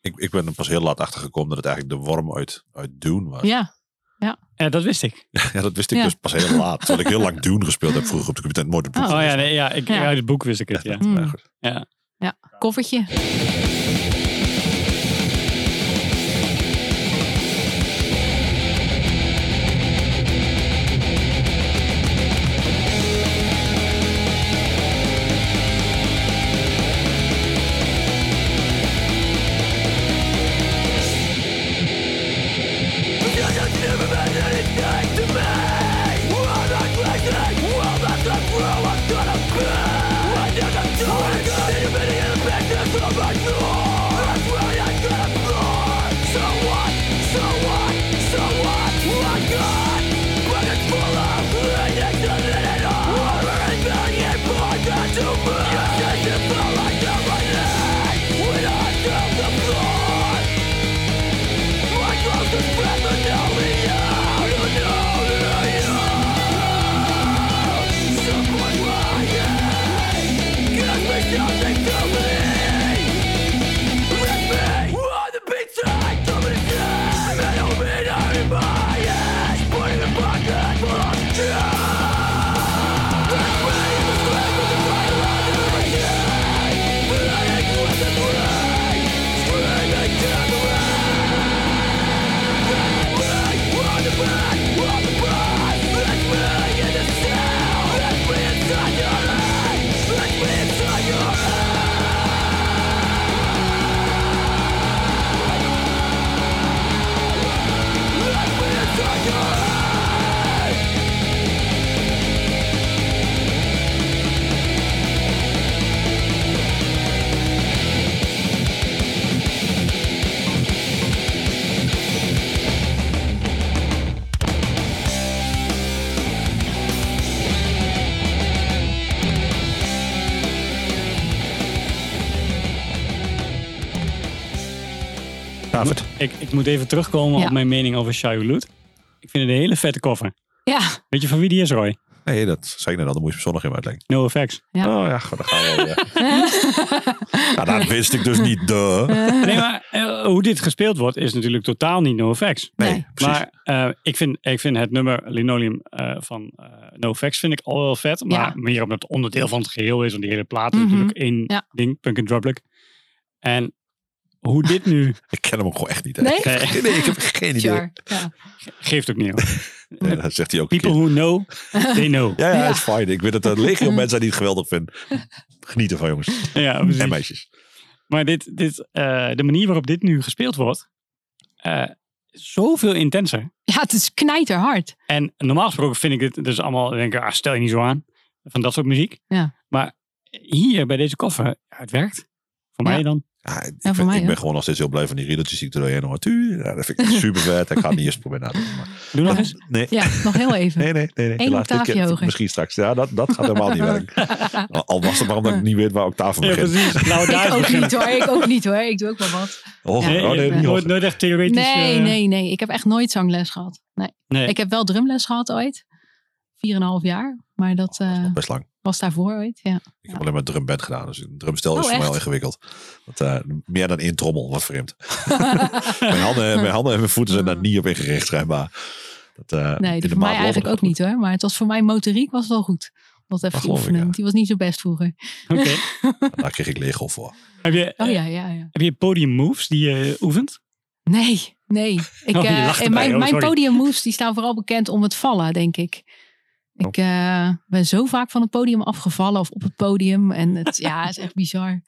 Ik, ik ben er pas heel laat achter gekomen dat het eigenlijk de worm uit, uit Dune was. Ja.
ja,
Ja, dat wist ik.
dat wist ik
Ja.
dus pas heel laat. Terwijl ik heel lang Dune gespeeld heb vroeger op de computer. Nooit een boek
Oh,
Oh ja,
gelezen.
nee, ja, ik,
Ja.
uit het boek wist ik het. Ja.
Ja,
Mm.
goed.
Ja.
ja, koffertje.
David.
Ik, ik moet even terugkomen
Ja.
op mijn mening over Shia Lute. Ik vind het een hele vette koffer.
Ja,
Weet je van wie die is, Roy?
Nee, dat zei ik net al. Dan moet je me zondag in uitleggen.
No effects.
Ja.
Oh ja, goed, dan gaan we weer. nou, dat wist ik dus niet. Duh.
Nee, maar eh, hoe dit gespeeld wordt is natuurlijk totaal niet no effects.
nee.
Precies.
Maar eh, ik, vind, ik vind het nummer Linoleum eh, van eh No Facts vind ik al wel vet. Maar
Ja.
meer omdat het onderdeel van het geheel is. Want die hele plaat
Mhm.
is natuurlijk één
Ja.
ding. Punk and Drublic. En hoe dit nu...
Ik ken hem ook gewoon echt niet. hè.
Nee?
eh,
Nee, ik heb geen idee.
Sure. Ja.
geeft ook niet hoor.
Nee, dat zegt hij ook. een
People
keer.
who know, they know.
Ja, ja,
Ja.
is fine. Ik weet dat er legio mensen zijn die het geweldig vinden. Genieten van jongens
Ja, precies.
en meisjes.
Maar dit, dit, eh, de manier waarop dit nu gespeeld wordt, eh, is zoveel intenser.
ja, het is knijterhard.
En normaal gesproken vind ik dit dus allemaal, dan denk ik, ah, stel je niet zo aan, van dat soort muziek.
Ja.
Maar hier bij deze koffer, ja, het werkt. Voor
Ja.
mij dan.
Ja, ik,
voor
vind-
mij
ik ben
ook.
gewoon nog steeds heel blij van die riddeltjes die ik er doorheen hoor. Tuur, ja, dat vind ik super vet. Ik ga het niet eerst proberen na te doen. maar-
Doe nog eens.
Nee.
Ja, nog heel even.
Nee, nee, nee. nee.
Eén
Helaas, dit
octaafje
keer-
hoger.
Misschien straks. Ja, dat, dat gaat helemaal niet werken. Al- Al was het maar omdat ik niet weet waar octaven
Ja,
begint.
precies. Nou, daar
Ik
is
ook
begin.
niet hoor, ik ook niet hoor. Ik doe ook wel wat.
Oh,
Ja.
oh, nee,
Nee,
niet
nooit,
hoger.
nooit echt theoretisch.
Nee,
eh,
nee, nee. Ik heb echt nooit zangles gehad. Nee.
nee.
Ik heb wel drumles gehad ooit. 4,5 jaar. Maar dat
Oh,
Dat is
eh,
nog best lang.
was daarvoor ooit. Ja.
Ik heb alleen maar drumband gedaan. Dus een drumstel
Oh,
is voor mij
echt?
heel ingewikkeld. Want, eh, meer dan één trommel, wat vreemd. mijn, handen, mijn handen en mijn voeten zijn daar niet op ingericht, schijnbaar. Dat, eh,
Ah. Nee, die
in de
voor mij
maat
eigenlijk ook
Londen-
niet hoor. Maar het was voor mij motoriek was wel goed. Om Dat even
Dat
te
geloof ik,
oefenen.
ja.
want Die was niet zo best vroeger.
Oké.
Daar kreeg ik Lego voor.
Heb, je,
Oh ja, ja, ja.
heb je podium moves die je eh, oefent?
Nee, nee. Ik,
Oh, je
eh,
lacht
en
erbij.
mijn
Oh,
mijn
sorry.
podium moves die staan vooral bekend om het vallen, denk ik.
Oh.
Ik eh, ben zo vaak van het podium afgevallen of op het podium. En het ja, het is echt bizar.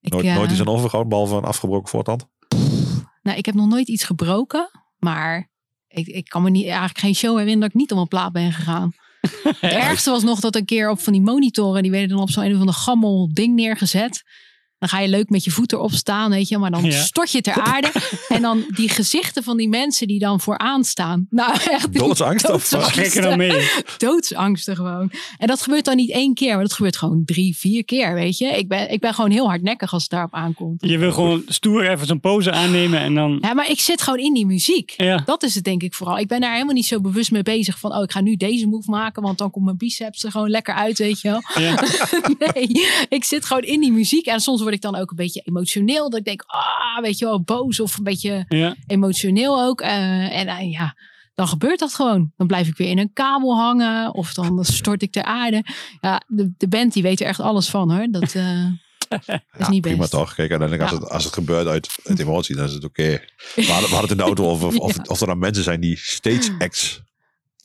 Ik,
Nooit,
eh,
nooit iets aan overgehouden, behalve een afgebroken voortand.
Nou, ik heb nog nooit iets gebroken, maar ik, ik kan me niet, eigenlijk geen show herinneren dat ik niet om een plaat ben gegaan. Het ergste was nog dat een keer op van die monitoren, die werden dan op zo'n een of ander gammel ding neergezet. Dan ga je leuk met je voet erop staan, weet je, maar dan
Ja.
stort je ter aarde. En dan die gezichten van die mensen die dan vooraan staan. Nou, echt. die
Doodsangst of-
doodsangsten.
Gekker dan nou mee.
doodsangsten gewoon. En dat gebeurt dan niet één keer, maar dat gebeurt gewoon drie, vier keer, weet je. Ik ben, ik ben gewoon heel hardnekkig als het daarop aankomt.
Je wil gewoon stoer even zo'n pose aannemen en dan...
Ja, maar ik zit gewoon in die muziek.
Ja.
Dat is het denk ik vooral. Ik ben daar helemaal niet zo bewust mee bezig van... oh, ik ga nu deze move maken, want dan komt mijn biceps er gewoon lekker uit, weet je wel.
ja.
nee, ik zit gewoon in die muziek. En soms word ik dan ook een beetje emotioneel. Dat ik denk, ah, weet je wel, boos of een beetje
ja.
emotioneel ook. Eh, en eh, ja, dan gebeurt dat gewoon. Dan blijf ik weer in een kabel hangen of dan stort ik ter aarde. Ja, de, de band die weet er echt alles van hoor. Dat eh, is niet
prima
best.
toch? Kijk, uiteindelijk als,
Ja.
het, als het gebeurt uit, uit emotie, dan is het oké. We, hadden- we hadden het in de auto over of, of, of er dan mensen zijn die stage acts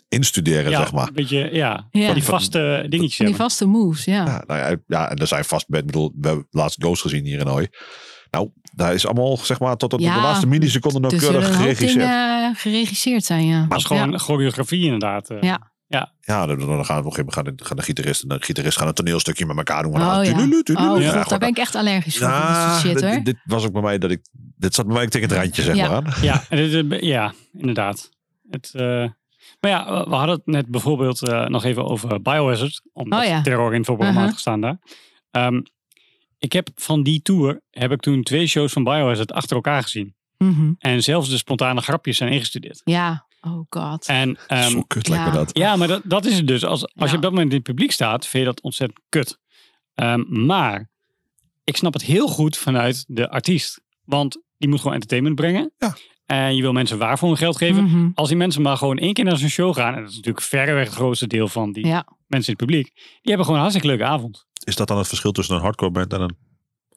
instuderen,
Ja,
zeg maar.
Een beetje, ja.
Ja.
Van die vaste dingetjes.
Van die
hebben.
vaste moves, ja.
Ja, nou ja, ja, en er zijn vast, ik bedoel, we hebben laatst Ghost gezien hier in Hooi. Nou, daar is allemaal, zeg maar, tot op
Ja,
de laatste milliseconde
Dus er
nauwkeurig
een hoop
geregisseerd.
dingen eh, geregisseerd zijn, ja.
Dat is gewoon choreografie inderdaad. eh.
Ja.
Ja, dan, dan gaan we op een gegeven moment gaan de, gaan de gitarist en de gitarist gaan een toneelstukje met elkaar doen.
Ja. Oh ja.
Tudelu,
eh,
tudelu.
Oh,
Ja,
god, daar
gewoon-
ben ik echt allergisch voor. van
Ja,
dat soort shit,
dit-
hoor.
dit was ook bij mij dat ik, dit zat bij mij ook tegen het randje, zeg
Ja.
maar aan.
Ja, en dit is een be- ja inderdaad. Het, eh, maar ja, we- we hadden het net bijvoorbeeld eh, nog even over Biohazard. Omdat
Oh ja.
terror in het voorprogramma
Uh-huh.
had gestaan daar. Ehm, ik heb van die tour, heb ik toen twee shows van Biohazard achter elkaar gezien.
Mhm.
En zelfs de spontane grapjes zijn ingestudeerd.
Ja, oh god.
En, ehm,
Zo kut lijkt me
ja.
dat.
ja, maar dat, dat is het dus. Als, als je
Ja.
op dat moment in het publiek staat, vind je dat ontzettend kut. Ehm, maar ik snap het heel goed vanuit de artiest. Want die moet gewoon entertainment brengen.
Ja.
En je wil mensen waar voor hun geld geven.
Mhm.
Als die mensen maar gewoon één keer naar zo'n show gaan, en dat is natuurlijk verreweg het grootste deel van die
Ja.
mensen in het publiek, die hebben gewoon een hartstikke leuke avond.
Is dat dan het verschil tussen een hardcore band en een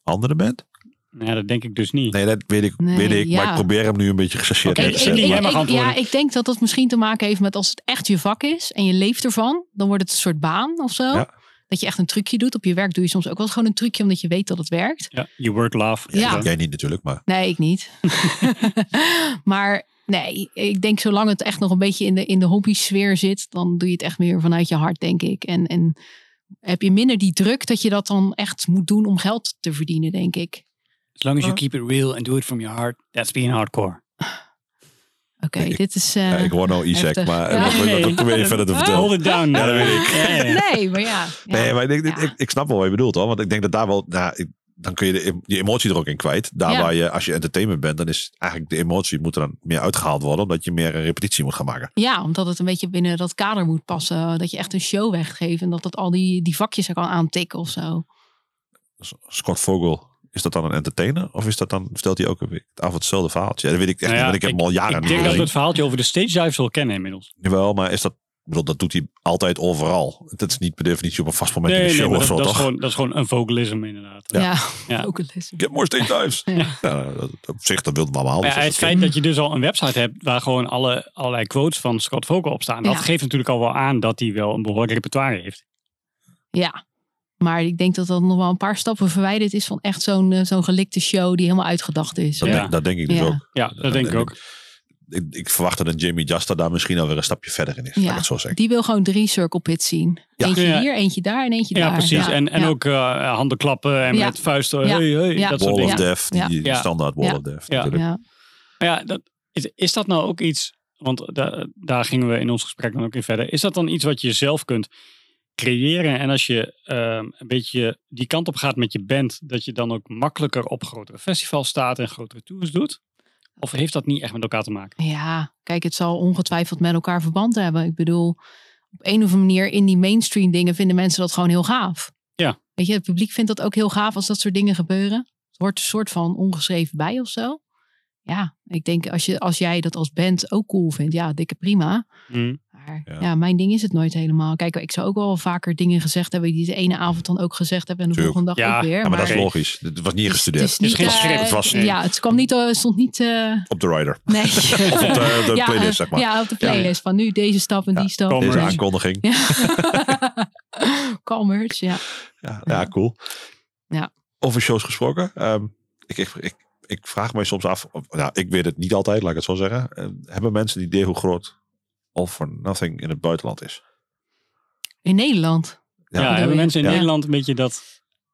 andere band?
Nou, ja, dat denk ik dus niet.
Nee, dat weet ik,
Nee,
weet ik maar
ja.
ik probeer hem nu een beetje gechargeerd
Oké,
neer te
ik-
zetten.
ik- jij
maar-
mag antwoorden.
ja, ik denk dat dat misschien te maken heeft met als het echt je vak is en je leeft ervan, dan wordt het een soort baan of zo.
Ja.
Dat je echt een trucje doet. Op je werk doe je soms ook wel eens gewoon een trucje omdat je weet dat het werkt.
Ja, you work love.
Ja.
Jij niet natuurlijk, maar
Nee, ik niet. maar nee, ik denk zolang het echt nog een beetje in de, in de hobby-sfeer zit, dan doe je het echt meer vanuit je hart, denk ik. En, en heb je minder die druk dat je dat dan echt moet doen om geld te verdienen, denk ik.
As long as you keep it real and do it from your heart, that's being hardcore.
Oké,
Nee, ik-
dit is. eh,
ja, ik hoor nou Isaac,
heftig.
maar
Ja.
dat- dat- dat probeer je verder te
Oh. Hold
vertellen.
it down.
Ja, dat weet ik. Ah,
Ja, ja.
Nee, maar ja. ja.
Nee, maar ik, ik,
Ja.
ik, ik snap wel wat je bedoelt hoor. Want ik denk dat daar wel, nou, ik- dan kun je de, die emotie er ook in kwijt. Daar
Ja.
waar je, als je entertainment bent, dan is eigenlijk de emotie moet er dan meer uitgehaald worden. Omdat je meer een repetitie moet gaan maken.
Ja, omdat het een beetje binnen dat kader moet passen. Dat je echt een show weggeeft en dat dat al die, die vakjes er kan aantikken of zo.
Dus Scott Vogel, is dat dan een entertainer? Of is dat dan, vertelt hij ook een- het avond hetzelfde verhaaltje? Ja, dat weet ik echt
Nou ja,
niet, want ik heb hem al jaren
Ik
niet
denk dat we
gezien.
het verhaaltje over de stage dives wel kennen inmiddels.
Jawel, maar is dat, ik bedoel, dat doet hij altijd overal. Dat is niet per definitie op een vast moment
Nee,
in de
nee,
show
maar
of
dat,
zo,
dat is
toch?
gewoon, dat is gewoon een vocalism inderdaad.
Ja,
Ja.
ook een les.
Get more stage dives.
Ja.
Ja, dat, op zich, dat wilde mama
Maar
anders.
ja, het feit dat je dus al een website hebt waar gewoon alle, allerlei quotes van Scott Vogel op staan, dat
Ja.
geeft natuurlijk al wel aan dat hij wel een behoorlijk repertoire heeft.
Ja, maar ik denk dat dat nog wel een paar stappen verwijderd is van echt zo'n eh, zo'n gelikte show die helemaal uitgedacht is.
dat,
Ja.
denk, dat denk ik dus
Ja.
ook.
Ja, dat denk ik ook.
ik, ik verwachtte dat Jamie Justa daar misschien alweer een stapje verder in is. Laat ik het zo zeggen.
Die wil gewoon drie circle pits zien.
Ja.
Eentje
Ja.
hier, eentje daar en eentje
Ja,
daar.
precies. En, en
Ja.
ook eh, handen klappen en
Ja.
met vuisten.
Ja.
Hey, hey,
Ja.
Dat soort
Wall of
dingen.
Ja.
Death, die, die
Ja.
standaard Wall
Ja.
of Death
Ja.
natuurlijk.
Ja.
Maar ja, dat, is, is dat nou ook iets, want da- daar gingen we in ons gesprek dan ook in verder. Is dat dan iets wat je zelf kunt creëren? En als je ehm, een beetje die kant op gaat met je band, dat je dan ook makkelijker op grotere festivals staat en grotere tours doet? Of heeft dat niet echt met elkaar te maken?
Ja, kijk, het zal ongetwijfeld met elkaar verband hebben. Ik bedoel, op een of andere manier in die mainstream dingen vinden mensen dat gewoon heel gaaf.
Ja.
Weet je, het publiek vindt dat ook heel gaaf als dat soort dingen gebeuren. Het hoort een soort van ongeschreven bij of zo. Ja, ik denk als, je, als jij dat als band ook cool vindt, ja, dikke prima. Maar
Ja.
Hm. ja. mijn ding is het nooit helemaal. Kijk, ik zou ook wel vaker dingen gezegd hebben die de ene avond dan ook gezegd hebben en de
Tuurlijk.
volgende dag
Ja,
ook weer.
Ja, maar dat is
Maar-
logisch. Het was niet
het is-
gestudeerd.
Het is niet,
geen
eh,
script.
Het was
Ja, het kwam niet, eh, stond niet. eh,
op de rider.
nee.
Of op de, de
ja,
playlist,
eh,
zeg maar.
Ja, op de playlist. Van nu deze stap en
Ja,
die stap. Dus-
kom
Deze
maar.
Ja.
aankondiging.
Ja. Calmers, ja.
Ja, ja, cool.
Ja.
Over shows gesproken. ehm, ik, ik, ik, ik vraag mij soms af. of- nou, ik weet het niet altijd, laat ik het zo zeggen. Eh, hebben mensen een idee hoe groot All for Nothing in het buitenland is? Nou,
In Nederland.
Ja,
bedoel
hebben
je?
mensen in
Ja.
Nederland een beetje dat...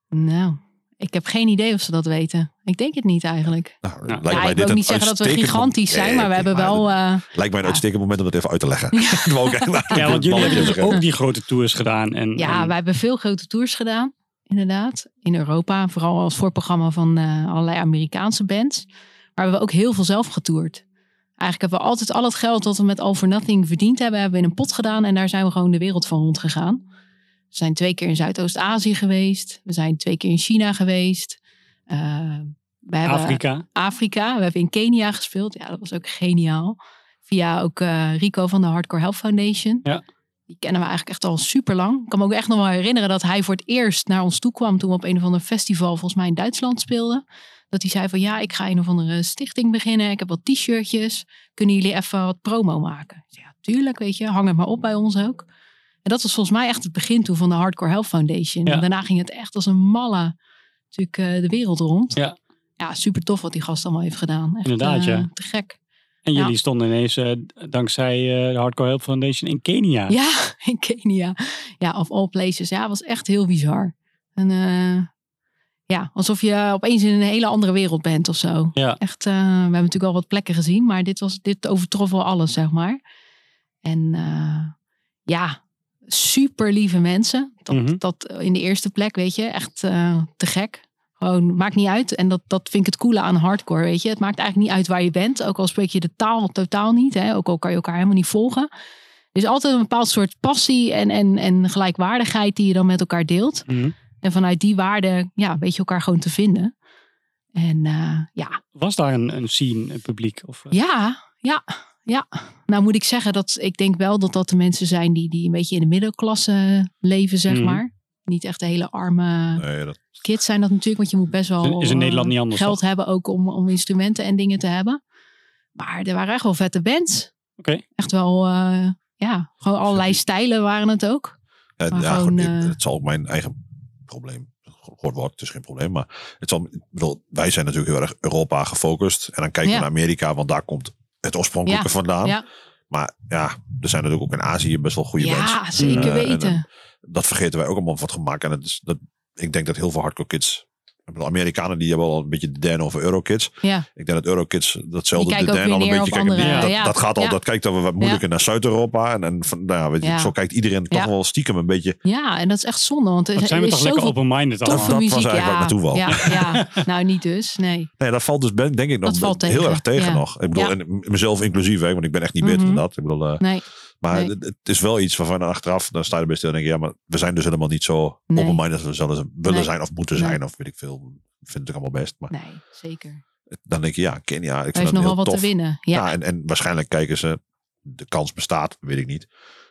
Nou, ik heb geen idee of ze dat weten. Ik denk het niet eigenlijk.
Nou,
Ja,
Ja, ik wil
een
ook niet zeggen dat we
uitstekend
gigantisch
moment-
zijn, maar we
Nee,
hebben wel... eh,
dit Lijkt mij een
ja.
uitstekend moment om dat even uit te leggen. Dat wou ik eigenlijk-
Ja, want jullie hebben dus
Balletje
ook die grote tours gedaan. En,
Ja,
en-
wij hebben veel grote tours gedaan, inderdaad. In Europa, vooral als voorprogramma van eh, allerlei Amerikaanse bands. Maar we hebben ook heel veel zelf getoerd. Eigenlijk hebben we altijd al het geld dat we met All for Nothing verdiend hebben, hebben we in een pot gedaan. En daar zijn we gewoon de wereld van rond gegaan. We zijn twee keer in Zuidoost-Azië geweest. We zijn twee keer in China geweest. Eh, we hebben
Afrika.
Afrika. We hebben in Kenia gespeeld. Ja, dat was ook geniaal. Via ook eh, Rico van de Hardcore Health Foundation.
Ja.
Die kennen we eigenlijk echt al super lang. Ik kan me ook echt nog wel herinneren dat hij voor het eerst naar ons toe kwam toen we op een of ander festival volgens mij in Duitsland speelden. Dat hij zei van ja, ik ga een of andere stichting beginnen. Ik heb wat t-shirtjes. Kunnen jullie even wat promo maken? Ik zei, Ja, tuurlijk, weet je. Hang het maar op bij ons ook. En dat was volgens mij echt het begin toen van de Hardcore Health Foundation.
Ja.
En daarna ging het echt als een malle natuurlijk eh, de wereld rond ja, super tof wat die gast allemaal heeft gedaan. Echt,
Inderdaad,
eh,
ja.
Te gek.
En
Ja.
jullie stonden ineens eh, dankzij eh, de Hardcore Help Foundation in Kenia.
Ja, in Kenia. Ja, of all places. Ja, was echt heel bizar. En eh, ja, alsof je opeens in een hele andere wereld bent of zo.
Ja.
Echt, eh, we hebben natuurlijk al wat plekken gezien, maar dit, was, dit overtrof wel alles, zeg maar. En eh, ja, super lieve mensen. Dat,
Mhm.
dat in de eerste plek, weet je, echt eh, te gek. Gewoon, maakt niet uit. En dat, dat vind ik het coole aan hardcore, weet je. Het maakt eigenlijk niet uit waar je bent. Ook al spreek je de taal totaal niet. Hè. Ook al kan je elkaar helemaal niet volgen. Er is altijd een bepaald soort passie en, en, en gelijkwaardigheid die je dan met elkaar deelt.
Mhm.
En vanuit die waarde, ja, weet je elkaar gewoon te vinden. En eh, ja,
Was daar een, een scene, een publiek? Of, eh,
ja, ja, ja. Nou moet ik zeggen dat ik denk wel dat dat de mensen zijn die, die een beetje in de middenklasse leven, zeg
Mhm.
maar. Niet echt de hele arme
Nee, dat,
kids zijn dat natuurlijk, want je moet best wel
Is in- is in
eh,
Nederland niet anders,
geld hebben ook om, om instrumenten en dingen te hebben. Maar er waren echt wel vette bands.
Oké.
Echt wel, eh, ja, gewoon allerlei
Zeker.
stijlen waren het ook.
ja,
Maar
ja,
gewoon,
goed, ik-
eh,
het zal ook mijn eigen probleem. Hoort woord, het is geen probleem. Maar het zal, ik bedoel, wij zijn natuurlijk heel erg Europa gefocust. En dan kijken
Ja.
we naar Amerika, want daar komt het oorspronkelijke
Ja,
vandaan.
ja.
Maar ja, er zijn natuurlijk ook in Azië best wel goede bands.
Ja, zeker
Eh, en
weten.
dan- dat vergeten wij ook allemaal wat gemaakt. En het is, dat, ik denk dat heel veel hardcore kids. Ik bedoel, Amerikanen die hebben al een beetje de den over Eurokids.
Ja.
Ik denk dat Eurokids datzelfde
Die
de
kijken ook
den
weer
al een
neer
beetje
op
kijken. Die-
andere-
dat,
ja,
dat gaat al,
ja.
dat kijkt dan wat moeilijker naar Zuid-Europa. En, en van, nou, ja, weet je,
Ja.
zo kijkt iedereen toch
Ja.
wel stiekem een beetje.
Ja, en dat is echt zonde, want er,
Wat zijn
er
we
is
toch lekker
zoveel
open-minded
toffe
Dat
allemaal.
was
muziek.
eigenlijk
ja,
waar ik naartoe wou.
Ja, ja. nou niet dus, nee.
Nee, dat valt dus ben- denk ik nog
Dat valt
heel
tegen,
erg tegen
ja.
nog. Ik bedoel,
Ja.
en mezelf inclusief, hè, want ik ben echt niet beter
Mhm.
dan dat. Ik bedoel, eh,
Nee,
maar
Nee.
het, het is wel iets waarvan achteraf, dan sta je er best stil en denk je, ja, maar we zijn dus helemaal niet zo
Nee.
open-minded als we zouden willen
Nee.
zijn of moeten
Nee.
zijn. Of weet ik veel. Ik vind het ook allemaal best. Maar
nee, zeker.
dan denk je, ja, Kenia, ik
Er
vind
is
dat
nogal
heel
wat
tof.
te winnen.
Ja.
Ja,
Nou, en, en waarschijnlijk kijken ze, de kans bestaat, weet ik niet,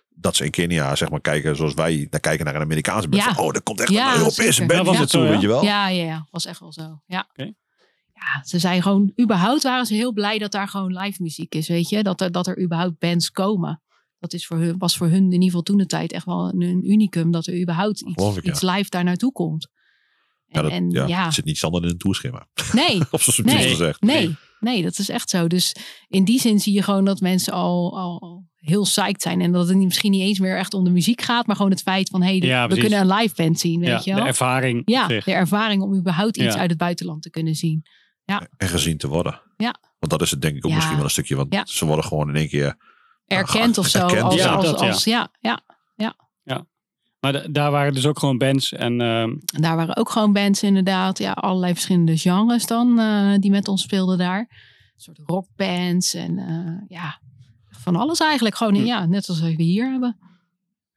dat ze in Kenia zeg maar kijken zoals wij naar kijken naar een Amerikaanse band.
Ja.
Van, oh, er komt echt
Ja,
een Europese
zeker.
band
Ja, was
hier
het zo,
naartoe,
ja?
weet je wel.
ja, ja, ja, was echt wel zo. Ja.
Oké.
ja, ze zijn gewoon, überhaupt waren ze heel blij dat daar gewoon live muziek is, weet je. Dat er, dat er überhaupt bands komen. Dat is voor hun, was voor hun in ieder geval toen de tijd echt wel een, een unicum dat er überhaupt
Geloof
iets,
ik, ja.
iets live daar naartoe komt. En ja,
Ja, dat,
en,
ja,
ja.
het zit niet standaard in een toerschema.
nee,
Of zoals
Nee.
nee. gezegd.
Nee, Nee, dat is echt zo. Dus in die zin zie je gewoon dat mensen al, al al heel psyched zijn. En dat het niet- misschien niet eens meer echt om de muziek gaat, maar gewoon het feit van hey, dit-
Ja,
we
precies.
kunnen een live band zien.
Ja,
Weet je
de
wel?
ervaring.
ja,
op zich.
de ervaring om überhaupt iets
Ja.
uit het buitenland te kunnen zien.
En gezien te worden.
Ja.
Want dat is het denk ik ook
Ja.
misschien wel een stukje. Want
Ja.
ze worden gewoon in één keer...
Erkend of zo.
Erkend,
als,
ja.
als,
Dat, ja.
als- ja, ja.
Maar da- daar waren dus ook gewoon bands. En ehm,
En daar waren ook gewoon bands inderdaad. Ja, allerlei verschillende genres dan eh, die met ons speelden daar. Een soort rockbands en eh, ja, van alles eigenlijk. Gewoon
Hm.
ja, net als we hier hebben.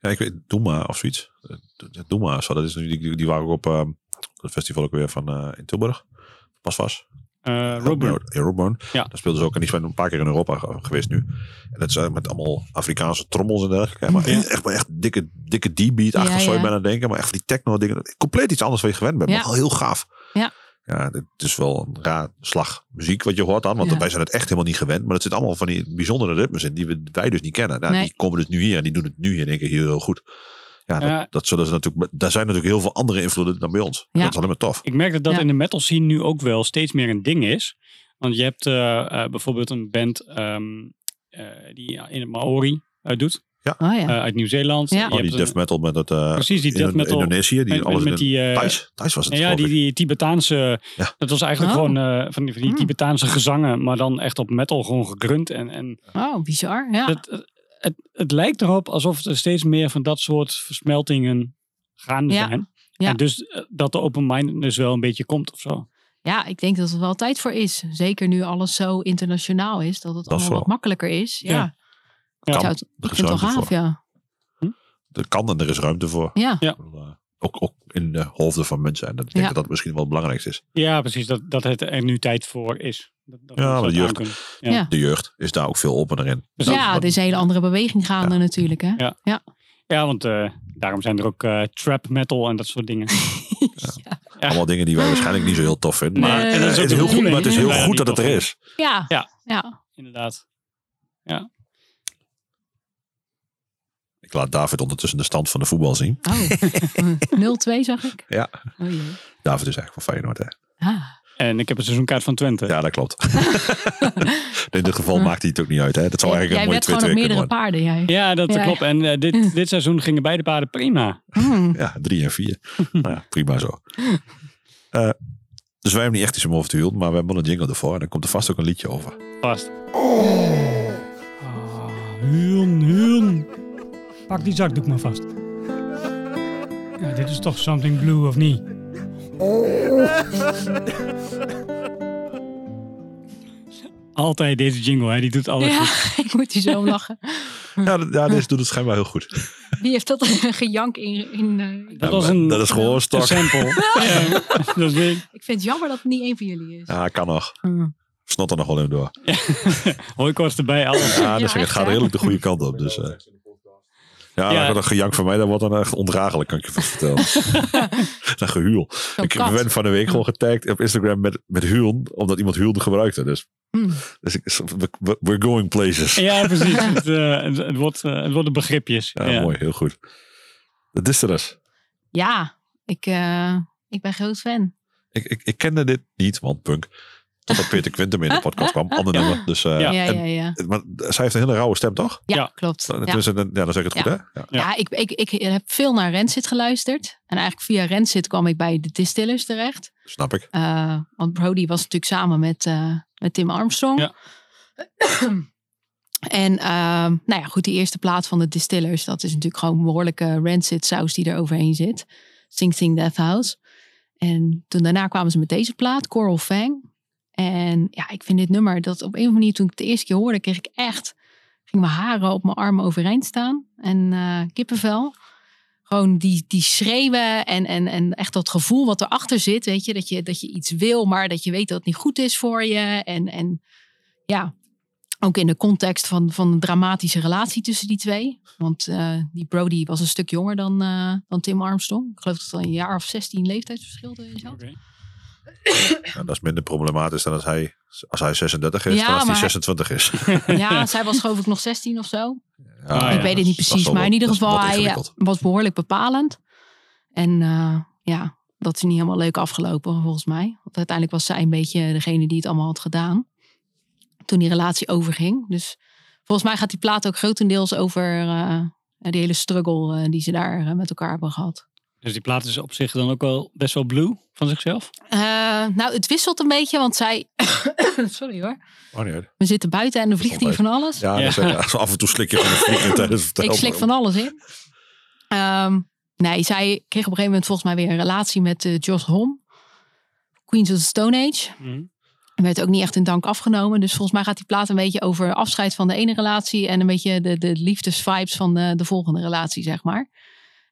Ja, ik weet, Doema of zoiets. Eh, D- Doema, zo, dat is nu, die, die waren ook op ehm, het festival ook weer van eh, in Tilburg. Pas was.
eh, Roadburn.
Ja, Roadburn.
Ja.
Daar speelden ze ook. En die zijn een paar keer in Europa ge- geweest nu. En dat zijn met allemaal Afrikaanse trommels en dergelijke. Ja, Maar
Ja.
echt, maar echt dikke, dikke D-beat-achtig
Ja,
zou je
ja.
bijna denken. Maar echt van die techno-dingen. Compleet iets anders dan je gewend bent.
Ja.
Maar wel heel gaaf.
Ja.
Ja, dit is wel een raar slag muziek wat je hoort dan. Want
Ja.
wij zijn het echt helemaal niet gewend. Maar dat zit allemaal van die bijzondere ritmes in die we, wij dus niet kennen. Nou,
Nee.
Die komen dus nu hier en die doen het nu in één keer heel, heel goed. Ja, dat,
Ja.
dat zullen ze natuurlijk, daar zijn natuurlijk heel veel andere invloeden dan bij ons.
Ja.
Dat is alleen maar tof.
Ik merk dat dat
Ja.
in de metal scene nu ook wel steeds meer een ding is. Want je hebt eh, eh, bijvoorbeeld een band ehm, eh, die in het Maori eh, doet.
Oh ja.
eh, uit Nieuw-Zeeland.
Ja.
Je
Oh,
Oh,
hebt
die
een-
death metal met dat eh,
precies, die death
in
metal.
Indonesië. Die
met,
alles
met
in
die, eh,
Thijs? Thijs was het
ja,
geloof
die,
ik.
die Tibetaanse.
Ja.
Dat was eigenlijk
Oh.
gewoon eh, van die, van die
Hmm.
Tibetaanse gezangen, maar dan echt op metal gewoon gegrunt. En, en
oh, bizar. Ja.
Eh. het, het, het lijkt erop alsof er steeds meer van dat soort versmeltingen gaande
Ja.
zijn.
Ja.
En dus eh, dat de open-mindedness wel een beetje komt of zo.
ja, ik denk dat er wel tijd voor is. Zeker nu alles zo internationaal is, dat het allemaal
vooral.
wat makkelijker is. Ja,
Ja.
Ik,
Ja.
zou het, ik
Er is
vind het wel
ruimte
gaaf,
voor.
ja.
Er kan en er is ruimte voor.
Ja,
Ja.
Ik bedoel, eh, Ook, ook in de hoofden van mensen. En dat ik denk
Ja.
dat dat misschien wel het belangrijkste is.
Ja, precies. Dat, dat het er nu tijd voor is. Dat, dat
Ja,
mensen
maar
dat
de jeugd-
aankunnen.
De jeugd is daar ook veel opener in.
Dus
ja,
dat-
er is een hele andere beweging gaande natuurlijk. Hè?
Ja. Ja, want eh, daarom zijn er ook eh, trap metal en dat soort dingen.
Allemaal dingen die
Ah.
wij waarschijnlijk niet zo heel tof vinden. Maar
Nee, en
eh,
dat is
het
ook
is
de
heel goed, maar
bedoeling,
het is heel
hè?
goed dat het er is.
Ja.
Ja.
ja.
Inderdaad.
Ik laat David ondertussen de stand van de voetbal zien.
Oh, 0-2 zag ik.
Ja.
Oh, jee.
David is eigenlijk van Feyenoord. Hè?
Ah.
En ik heb een seizoenkaart van Twente.
Ja, dat klopt. in dit geval maakt hij het ook niet uit. Hè? Dat zou eigenlijk
Jij
een
werd
mooie
gewoon op
Twitter kunnen
meerdere
worden.
paarden, jij.
Ja, dat
Ja.
klopt. En eh, dit, dit seizoen gingen beide paarden prima.
Hmm.
Ja, drie en vier. nou ja, prima zo. Eh, dus wij hebben niet echt iets om over te huilen, maar we hebben wel een jingle ervoor. En dan komt er vast ook een liedje over.
Vast. Ah, Huun, huun. Pak die zakdoek maar vast. Ja, dit is toch something blue of niet? Altijd deze jingle, hè? die doet alles
Ja,
goed.
ik moet hier zo om lachen.
Ja, d- ja deze doet het schijnbaar heel goed.
Wie heeft dat gejank in... in eh,
Dat,
Ja,
was
maar
een,
dat is
een
gehoorstok.
sample. Ja, dat is,
ik vind het jammer dat het niet één van jullie is.
Ja, kan nog.
Hmm.
Snot er nog wel even door.
hooikoorts erbij, alles.
Ja, dus
echt,
het gaat
hè?
redelijk de goede kant op. Dus, eh. ja,
Ja.
dat- dat gejank van mij, dat wordt dan echt ondraaglijk, kan ik je vast vertellen. dat gehuil.
Zo'n
Ik
kat.
ben van de week gewoon getagd op Instagram met, met huilen, omdat iemand huilde gebruikte. Dus,
Hmm.
dus ik, we- we- we're going places. Ja,
Ja, precies. het, eh, het, het wordt, eh, het worden begripjes. Ja.
mooi, heel goed. Dat is er dus.
Ja, ik, eh, ik ben groot fan.
Ik, ik, ik kende dit niet, want punk. Totdat Peter Quintum in de podcast kwam. Ander nummer. Dus, eh,
Ja,
Ja,
ja,
en-
ja. Ja,
Maar eh, zij heeft een hele rauwe stem, toch?
Ja.
klopt.
Dan-
Ja.
tenminste, dan- Ja, dan zeg ik het goed, hè? Ja.
Ja.
Ja, ik, ik, ik heb veel naar Rancid geluisterd. En eigenlijk via Rancid kwam ik bij de Distillers terecht.
Snap ik.
Eh, want Brody was natuurlijk samen met, eh, met Tim Armstrong.
Ja.
en ehm, nou ja, goed, die eerste plaat van de Distillers, dat is natuurlijk gewoon behoorlijke rancid saus die er overheen zit. Sing Sing Death House. En toen daarna kwamen ze met deze plaat, Coral Fang. En ja, ik vind dit nummer, dat op een of andere manier toen ik het de eerste keer hoorde, kreeg ik echt, ging mijn haren op mijn armen overeind staan. En eh, kippenvel gewoon die, die schreeuwen en, en, en echt dat gevoel wat erachter zit. Weet je, dat je, dat je iets wil, maar dat je weet dat het niet goed is voor je. En, en ja, ook in de context van, van een dramatische relatie tussen die twee. Want eh, die Brody was een stuk jonger dan, eh, dan Tim Armstrong. Ik geloof dat er een jaar of 16 leeftijdsverschil erin zat.
Oké.
Ja, dat is minder problematisch dan als hij, als hij 36 is,
Ja,
dan als hij
maar-
26 is.
Ja, zij was geloof ik nog 16 of zo.
Ah,
ik
ja,
weet het niet precies, maar in ieder geval, hij eh, was behoorlijk bepalend. En eh, ja, dat is niet helemaal leuk afgelopen, volgens mij. Want uiteindelijk was zij een beetje degene die het allemaal had gedaan. Toen die relatie overging. Dus volgens mij gaat die plaat ook grotendeels over eh, die hele struggle eh, die ze daar eh, met elkaar hebben gehad.
Dus die plaat is op zich dan ook wel best wel blue van zichzelf.
Eh, nou, het wisselt een beetje, want zij. Sorry hoor.
Oh, nee. hoor.
We zitten buiten en er vliegt hier van alles.
Ja,
Ja.
dat is echt- als we af en toe slik je van de vliegen tijdens het
Ik
vertellen.
slik van alles in. Ehm, nee, zij kreeg op een gegeven moment volgens mij weer een relatie met eh, Josh Hom. Queens of the Stone Age.
Mhm.
En werd ook niet echt in dank afgenomen. Dus volgens mij gaat die plaat een beetje over afscheid van de ene relatie. En een beetje de, de liefdesvibes van de, de volgende relatie, zeg maar.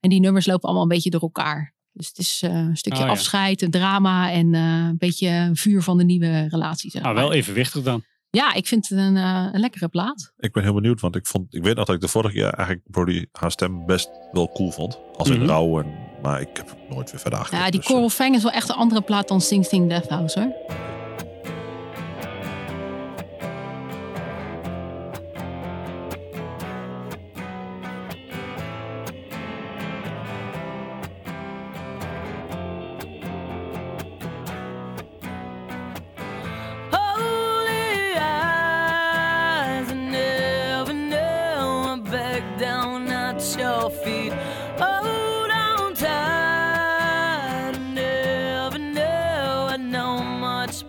En die nummers lopen allemaal een beetje door elkaar. Dus het is eh, een stukje
Oh, ja.
afscheid, een drama en eh, een beetje vuur van de nieuwe relatie. Zeg
Nou,
maar.
wel evenwichtig dan.
Ja, ik vind het een, eh, een lekkere plaat.
Ik ben heel benieuwd, want ik, vond, ik weet nog dat ik de vorige keer eigenlijk Brody haar stem best wel cool vond. Als in
Mhm.
rauw, en, maar ik heb het nooit weer
Ja,
verder aangekeken,
die
dus,
eh,
Coral Fang is wel echt een andere plaat dan Sing Sing Death House hoor.
Holy eyes never know back down at your feet. Hold on tight, never know I know much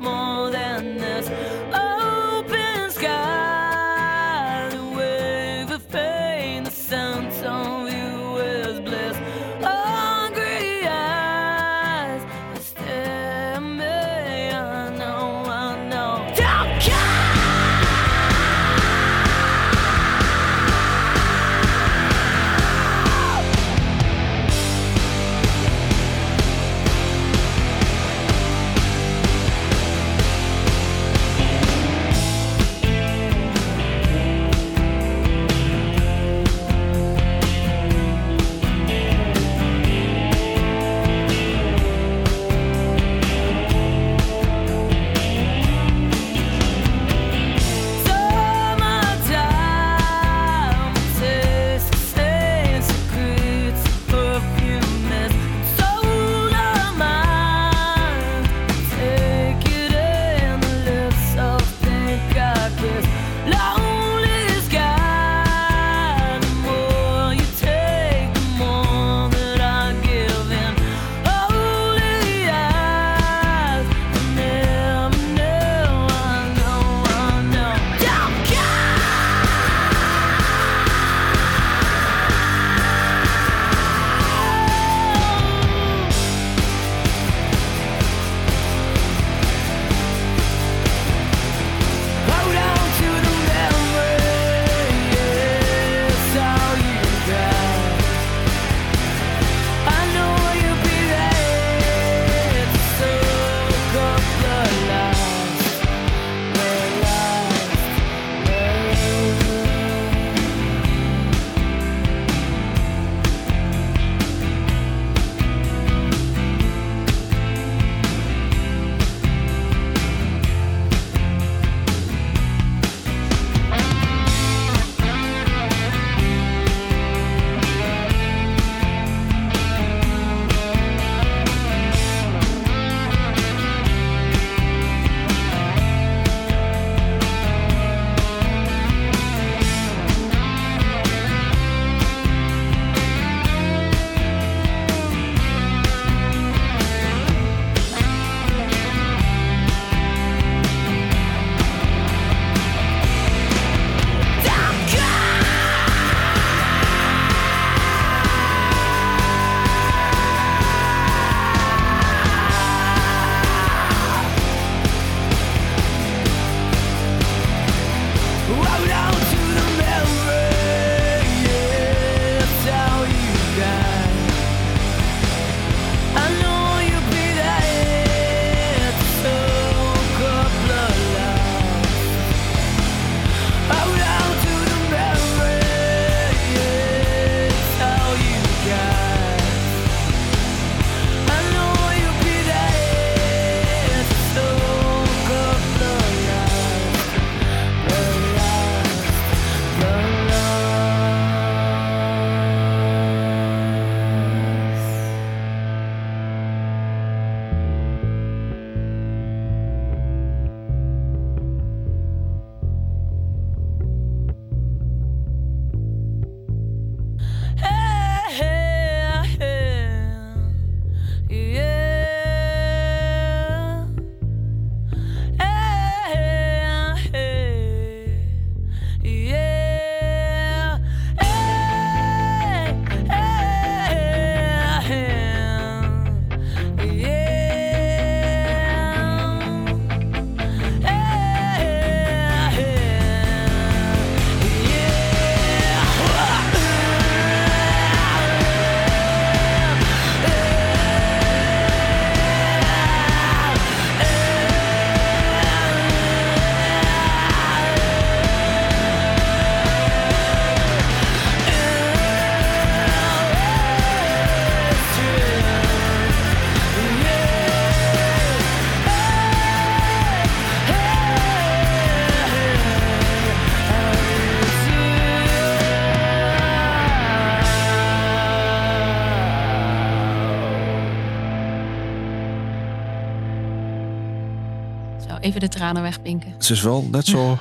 Even de tranen wegpinken.
Ze is wel net zo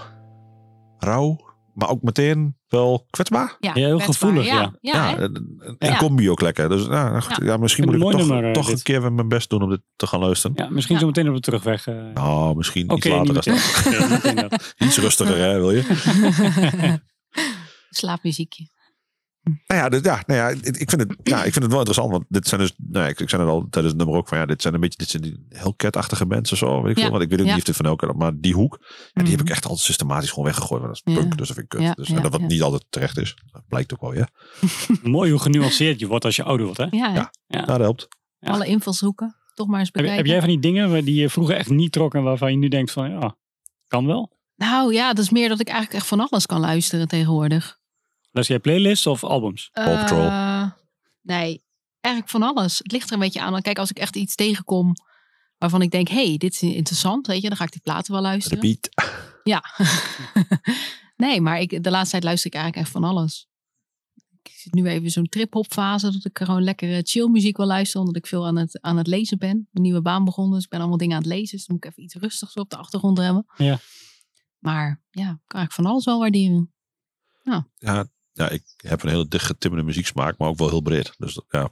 rauw, maar ook meteen wel kwetsbaar.
Ja,
heel
kwetsbaar.
gevoelig, ja.
Ja,
Ja,
hè?
en en
Ja.
combi ook lekker. Dus nou, nou goed, ja. misschien
Een
moet ik
mooi
toch,
nummer, eh,
toch
dit.
een keer mijn best doen om dit te gaan luisteren.
Ja, misschien
Ja.
zo meteen op de terugweg. eh.
Nou, misschien
Oké,
iets
niet
later. als dat.
meteen. Oké, niet meteen dat.
Iets rustiger, hè, wil je?
Slaapmuziekje.
Nou ja, dus, ja, nou ja ik, ik vind het, ja, ik vind het wel interessant. Want dit zijn dus, nou ja, ik, ik zei het al tijdens het nummer ook van ja, dit zijn een beetje, dit zijn die Hellcat-achtige mensen zo. Weet ik
Ja.
veel, want ik weet ook
Ja.
niet of dit van Hellcat, maar die hoek, ja, die heb
Mhm.
ik echt altijd systematisch gewoon weggegooid. Want dat is
Ja.
punk, dus dat vind ik kut.
Ja,
dus, en
ja,
dat wat
ja.
niet altijd terecht is, dat blijkt ook wel, ja.
Mooi hoe genuanceerd je wordt als je ouder wordt, hè?
Ja, hè?
Ja. Nou, dat helpt.
Ja.
alle invalshoeken. Toch maar eens
Heb,
bekijken.
heb jij van die dingen waar- die je vroeger echt niet trok en waarvan je nu denkt van, ja, kan wel?
Nou ja, dat is meer dat ik eigenlijk echt van alles kan luisteren tegenwoordig.
Luister jij playlists of albums?
Paw Patrol.
Eh, nee, eigenlijk van alles. Het ligt er een beetje aan. Kijk, als ik echt iets tegenkom waarvan ik denk, hey, dit is interessant, weet je, dan ga ik die platen wel
De
luisteren.
beat.
Ja. nee, maar ik, de laatste tijd luister ik eigenlijk echt van alles. Ik zit nu even in zo'n trip-hop fase. Dat ik gewoon lekkere chillmuziek wil luisteren. Omdat ik veel aan het, aan het lezen ben. Mijn nieuwe baan begonnen. Dus ik ben allemaal dingen aan het lezen. Dus dan moet ik even iets rustigs op de achtergrond hebben.
Ja.
Maar ja, ik kan eigenlijk van alles wel waarderen.
Ja, ja, ik heb een hele dicht getimmerde muzieksmaak, maar ook wel heel breed. Dus dat- ja.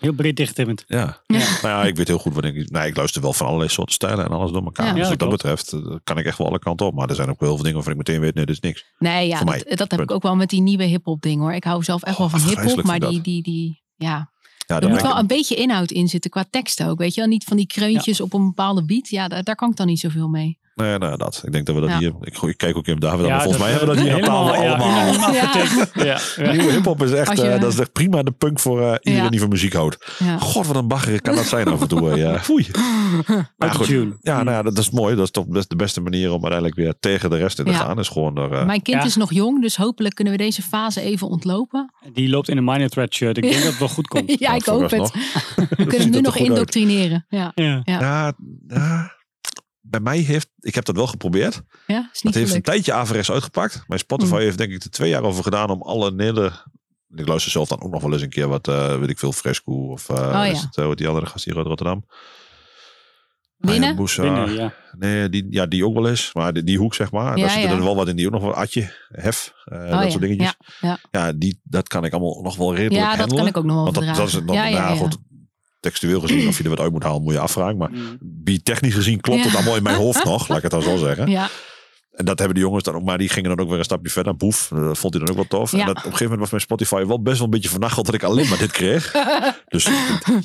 Heel breed dichttimmend.
ja.
Ja.
Nou ja, ik weet heel goed wat ik... Nou, ik luister wel van allerlei soorten stijlen en alles door elkaar.
Ja.
Dus
Ja,
wat dat
klopt.
betreft eh, kan ik echt wel alle kanten op. Maar er zijn ook wel heel veel dingen waarvan ik meteen weet, nee, dit is niks.
Nee, ja,
Voor mij,
dat, dat heb ik
punt.
ook wel met die nieuwe hip-hop ding hoor. Ik hou zelf echt
Oh,
wel van hip-hop.
afgrijzelijk
Maar
vind
die,
ik
die, die, ja,
Ja,
Er
dan
moet
ben ik-
wel een beetje inhoud in zitten qua tekst ook. Weet je wel, niet van die kreuntjes op een bepaalde beat. Ja, daar, daar kan ik dan niet zoveel mee.
Nee, nou dat. Ik denk dat we dat
Ja.
hier... Ik, ik kijk ook in David aan, maar volgens mij hebben we dat eh, hier aan
helemaal
tafel allemaal.
Ja.
Ja, ja.
Nieuwe hiphop is echt,
Als je-
eh, dat is echt prima de punk voor eh, iedereen
Ja.
die van muziek houdt.
Ja.
God, wat een bagger kan dat zijn af en toe. eh, ja. Foei. Nou, goed.
Autotune.
Ja, nou ja, dat is mooi. Dat is toch best de beste manier om uiteindelijk weer tegen de rest in te
Ja.
gaan. Is gewoon er, eh,
Mijn kind
Ja.
is nog jong, dus hopelijk kunnen we deze fase even ontlopen.
Mm. Die loopt in een Minor Threat shirt. Ik denk dat het wel goed komt.
ja, ik hoop het.
nou, vooralsnog.
We kunnen
ziet
nu
er
nog
goed uit.
indoctrineren. Ja,
Ja.
Ja.
Ja, ja. bij mij heeft... Ik heb dat wel geprobeerd.
ja is niet
Het heeft een
gelukt.
tijdje averechts uitgepakt. Maar Spotify
Mm.
heeft denk ik er twee jaar over gedaan om alle hele... Ik luister zelf dan ook nog wel eens een keer wat, eh, weet ik veel, Fresco of eh
Oh, ja.
is het, eh, hoe heet die andere gast hier uit Rotterdam.
Winnen?
Hayabusa.
Binnen, ja.
Nee, die, ja, die ook wel eens. Maar die, die hoek, zeg maar.
Ja,
daar zitten
ja. Oh,
er wel wat in. Die ook nog wel atje, hef, eh, dat
ja.
soort dingetjes.
Ja,
die, dat kan ik allemaal nog wel redelijk
Ja, dat
handelen.
kan ik ook nog wel
Want dat,
verdragen.
dat is het dan,
ja, ja,
nou,
ja.
goed, textueel gezien, of je er wat uit moet halen, moet je afvragen. Maar
Mm.
technisch gezien klopt
Ja.
het allemaal in mijn hoofd nog, laat ik het dan zo zeggen.
Ja,
En dat hebben de jongens dan ook, maar die gingen dan ook weer een stapje verder. Boef, dat vond hij dan ook wel tof.
Ja.
En dat, op een gegeven moment was mijn Spotify wel best wel een beetje vernacheld dat ik alleen maar dit kreeg. dus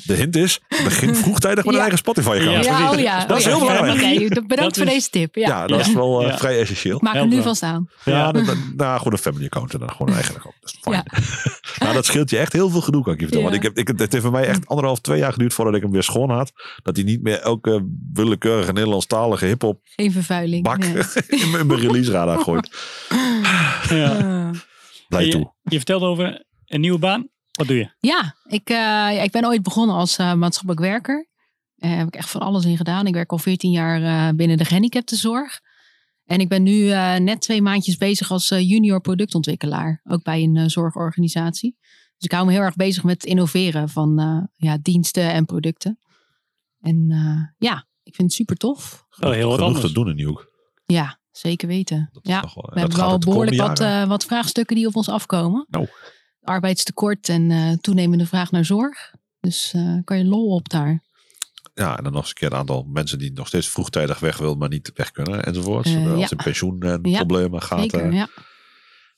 de hint is, begin vroegtijdig met
Ja.
een eigen Spotify-account.
Ja,
ja, oh
precies.
ja.
Dat is
Oh ja.
heel belangrijk.
Oké, bedankt
Dat
voor
is-
deze tip. Ja.
Ja, dat is wel eh,
Ja.
vrij essentieel.
Ik maak hem
Heel
nu
wel.
van staan.
Ja,
Ja.
dat, dat- nou goed, een family account en dan gewoon een eigen account. Dat is fijn.
Ja.
nou, dat scheelt je echt heel veel gedoe, kan ik je vertellen.
Ja.
Want ik heb, ik, het heeft voor mij echt anderhalf, twee jaar geduurd voordat ik hem weer schoon had. Dat hij niet meer elke willekeurige Nederlandstalige hip-hop
Geen vervuiling.
bak
nee.
in mijn- in mijn release radar gooit.
Ja.
Eh.
Blij
je,
toe.
Je vertelde over een nieuwe baan. Wat doe je?
Ja, ik, eh, ja, ik ben ooit begonnen als eh, maatschappelijk werker. Daar heb ik echt van alles in gedaan. Ik werk al 14 jaar eh, binnen de gehandicaptenzorg. En ik ben nu eh, net twee maandjes bezig als eh, junior productontwikkelaar. Ook bij een eh, zorgorganisatie. Dus ik hou me heel erg bezig met innoveren van eh, ja, diensten en producten. En eh, ja, ik vind het super tof.
Oh, heel wat
Genoeg
anders.
te doen in Nieuwk.
Ja, zeker weten.
Dat is
ja.
nog wel- en
We
dat
hebben
gaat
wel
ook de
behoorlijk
komende
wat,
jaren.
eh, wat vraagstukken die op ons afkomen.
Nou.
Arbeidstekort en eh, toenemende vraag naar zorg. Dus eh, kan je lol op daar.
Ja, en dan nog eens een keer een aantal mensen die nog steeds vroegtijdig weg wil, maar niet weg kunnen enzovoort.
Eh,
Als
ja.
in pensioen en
Ja,
problemen gaat.
Zeker,
eh,
ja.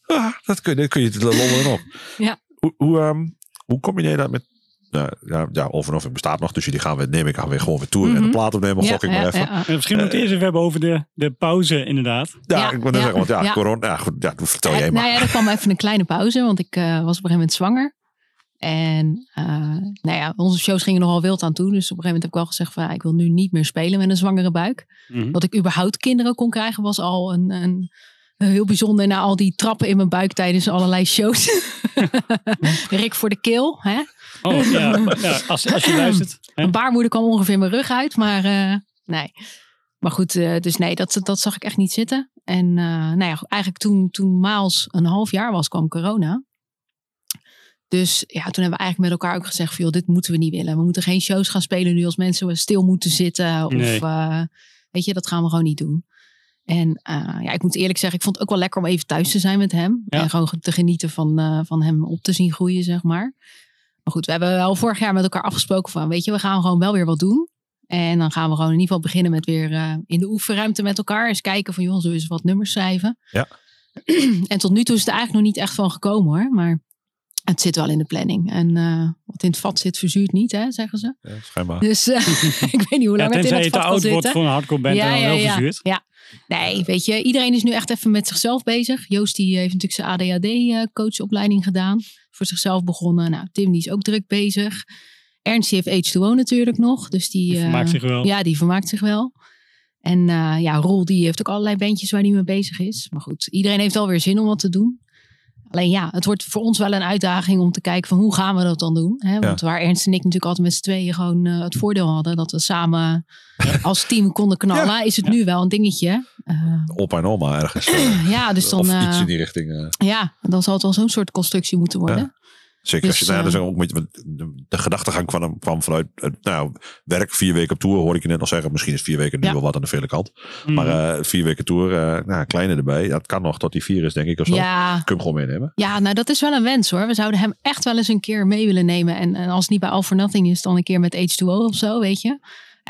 ja, dat kun je, dat kun je het lollen op.
Ja.
Hoe, hoe, ehm, hoe combineer je dat met... Nou, ja, ja, of en of, het bestaat nog. Dus jullie gaan weer, neem ik aan, weer gewoon weer toeren en
Mhm.
de plaat opnemen.
ja,
Gok ik maar even. Ja,
ja,
Eh, Misschien moeten we het eerst even hebben over de, de pauze, inderdaad.
Ja,
ik wil net
ja,
zeggen, want ja,
ja.
corona... Ja, goed, ja, dat vertel
Eh,
jij maar.
Nou ja, er kwam even een kleine pauze, want ik eh, was op een gegeven moment zwanger. En eh, nou ja, onze shows gingen nogal wild aan toe. Dus op een gegeven moment heb ik wel gezegd van ja, ik wil nu niet meer spelen met een zwangere buik.
Hm.
Mhm.
Dat ik überhaupt kinderen kon krijgen was al een, een heel bijzonder. Na al die trappen in mijn buik tijdens allerlei shows. Rick voor de keel. Hè?
Oh, ja. Ja, als, als je luistert. hè?
Een baarmoeder kwam ongeveer mijn rug uit. Maar eh, nee. Maar goed, eh, dus nee, dat, dat zag ik echt niet zitten. En eh, nou ja, eigenlijk toen, toen Maals een half jaar was, kwam corona. Dus ja, toen hebben we eigenlijk met elkaar ook gezegd van... joh, dit moeten we niet willen. We moeten geen shows gaan spelen nu als mensen stil moeten zitten. Of
Nee.
eh, weet je, dat gaan we gewoon niet doen. En eh, ja, ik moet eerlijk zeggen, ik vond het ook wel lekker om even thuis te zijn met hem.
Ja.
En gewoon te genieten van, eh, van hem op te zien groeien, zeg maar. Maar goed, we hebben wel vorig jaar met elkaar afgesproken van, weet je, we gaan gewoon wel weer wat doen. En dan gaan we gewoon in ieder geval beginnen met weer eh, in de oefenruimte met elkaar. Eens kijken van, joh, zullen we eens wat nummers schrijven?
Ja.
en tot nu toe is het er eigenlijk nog niet echt van gekomen hoor. Maar het zit wel in de planning. En eh, wat in het vat zit, verzuurt niet, hè, zeggen ze.
Ja, schijnbaar.
Dus eh, ik weet niet hoe
Ja,
lang het in
tenzij je
het
te
vat kan
oud wordt
zitten.
voor een hardcore band en dan wel
ja.
verzuurd.
Ja. Nee, weet je, iedereen is nu echt even met zichzelf bezig. Joost die eh, heeft natuurlijk zijn ADHD-coachopleiding eh, gedaan. Voor zichzelf begonnen. Nou, Tim die is ook druk bezig. Ernst die heeft H2O natuurlijk nog. Dus die,
Die vermaakt
eh,
zich
Oh.
wel.
Ja, die vermaakt zich wel. En eh, ja, Roel die heeft ook allerlei bandjes waar hij mee bezig is. Maar goed, iedereen heeft alweer zin om wat te doen. Alleen ja, het wordt voor ons wel een uitdaging om te kijken van hoe gaan we dat dan doen. Hè? Want waar Ernst en ik natuurlijk altijd met z'n tweeën gewoon eh, het voordeel hadden. Dat we samen als team konden knallen. Is het nu wel een dingetje. Eh,
Opa en oma ergens. eh,
ja, dus dan,
of iets
eh,
in die richting. eh.
ja, dan zal het wel zo'n soort constructie moeten worden.
Zeker. als je,
Dus,
nou, ja,
eh,
dat is ook een beetje, want de, de gedachtegang kwam, kwam vanuit eh, nou, werk, vier weken op tour, hoor ik je net al zeggen. Misschien is vier weken nu
Ja. Mhm.
wel wat aan de vele kant.
Mm.
Maar eh, vier weken tour, eh nou, kleine erbij. Ja, het kan nog tot die vier is, denk ik. Of zo.
ja,
Kun je hem gewoon meenemen.
Ja, nou dat is wel een wens hoor. We zouden hem echt wel eens een keer mee willen nemen. En, en als het niet bij All for Nothing is, dan een keer met H2O of zo, weet je.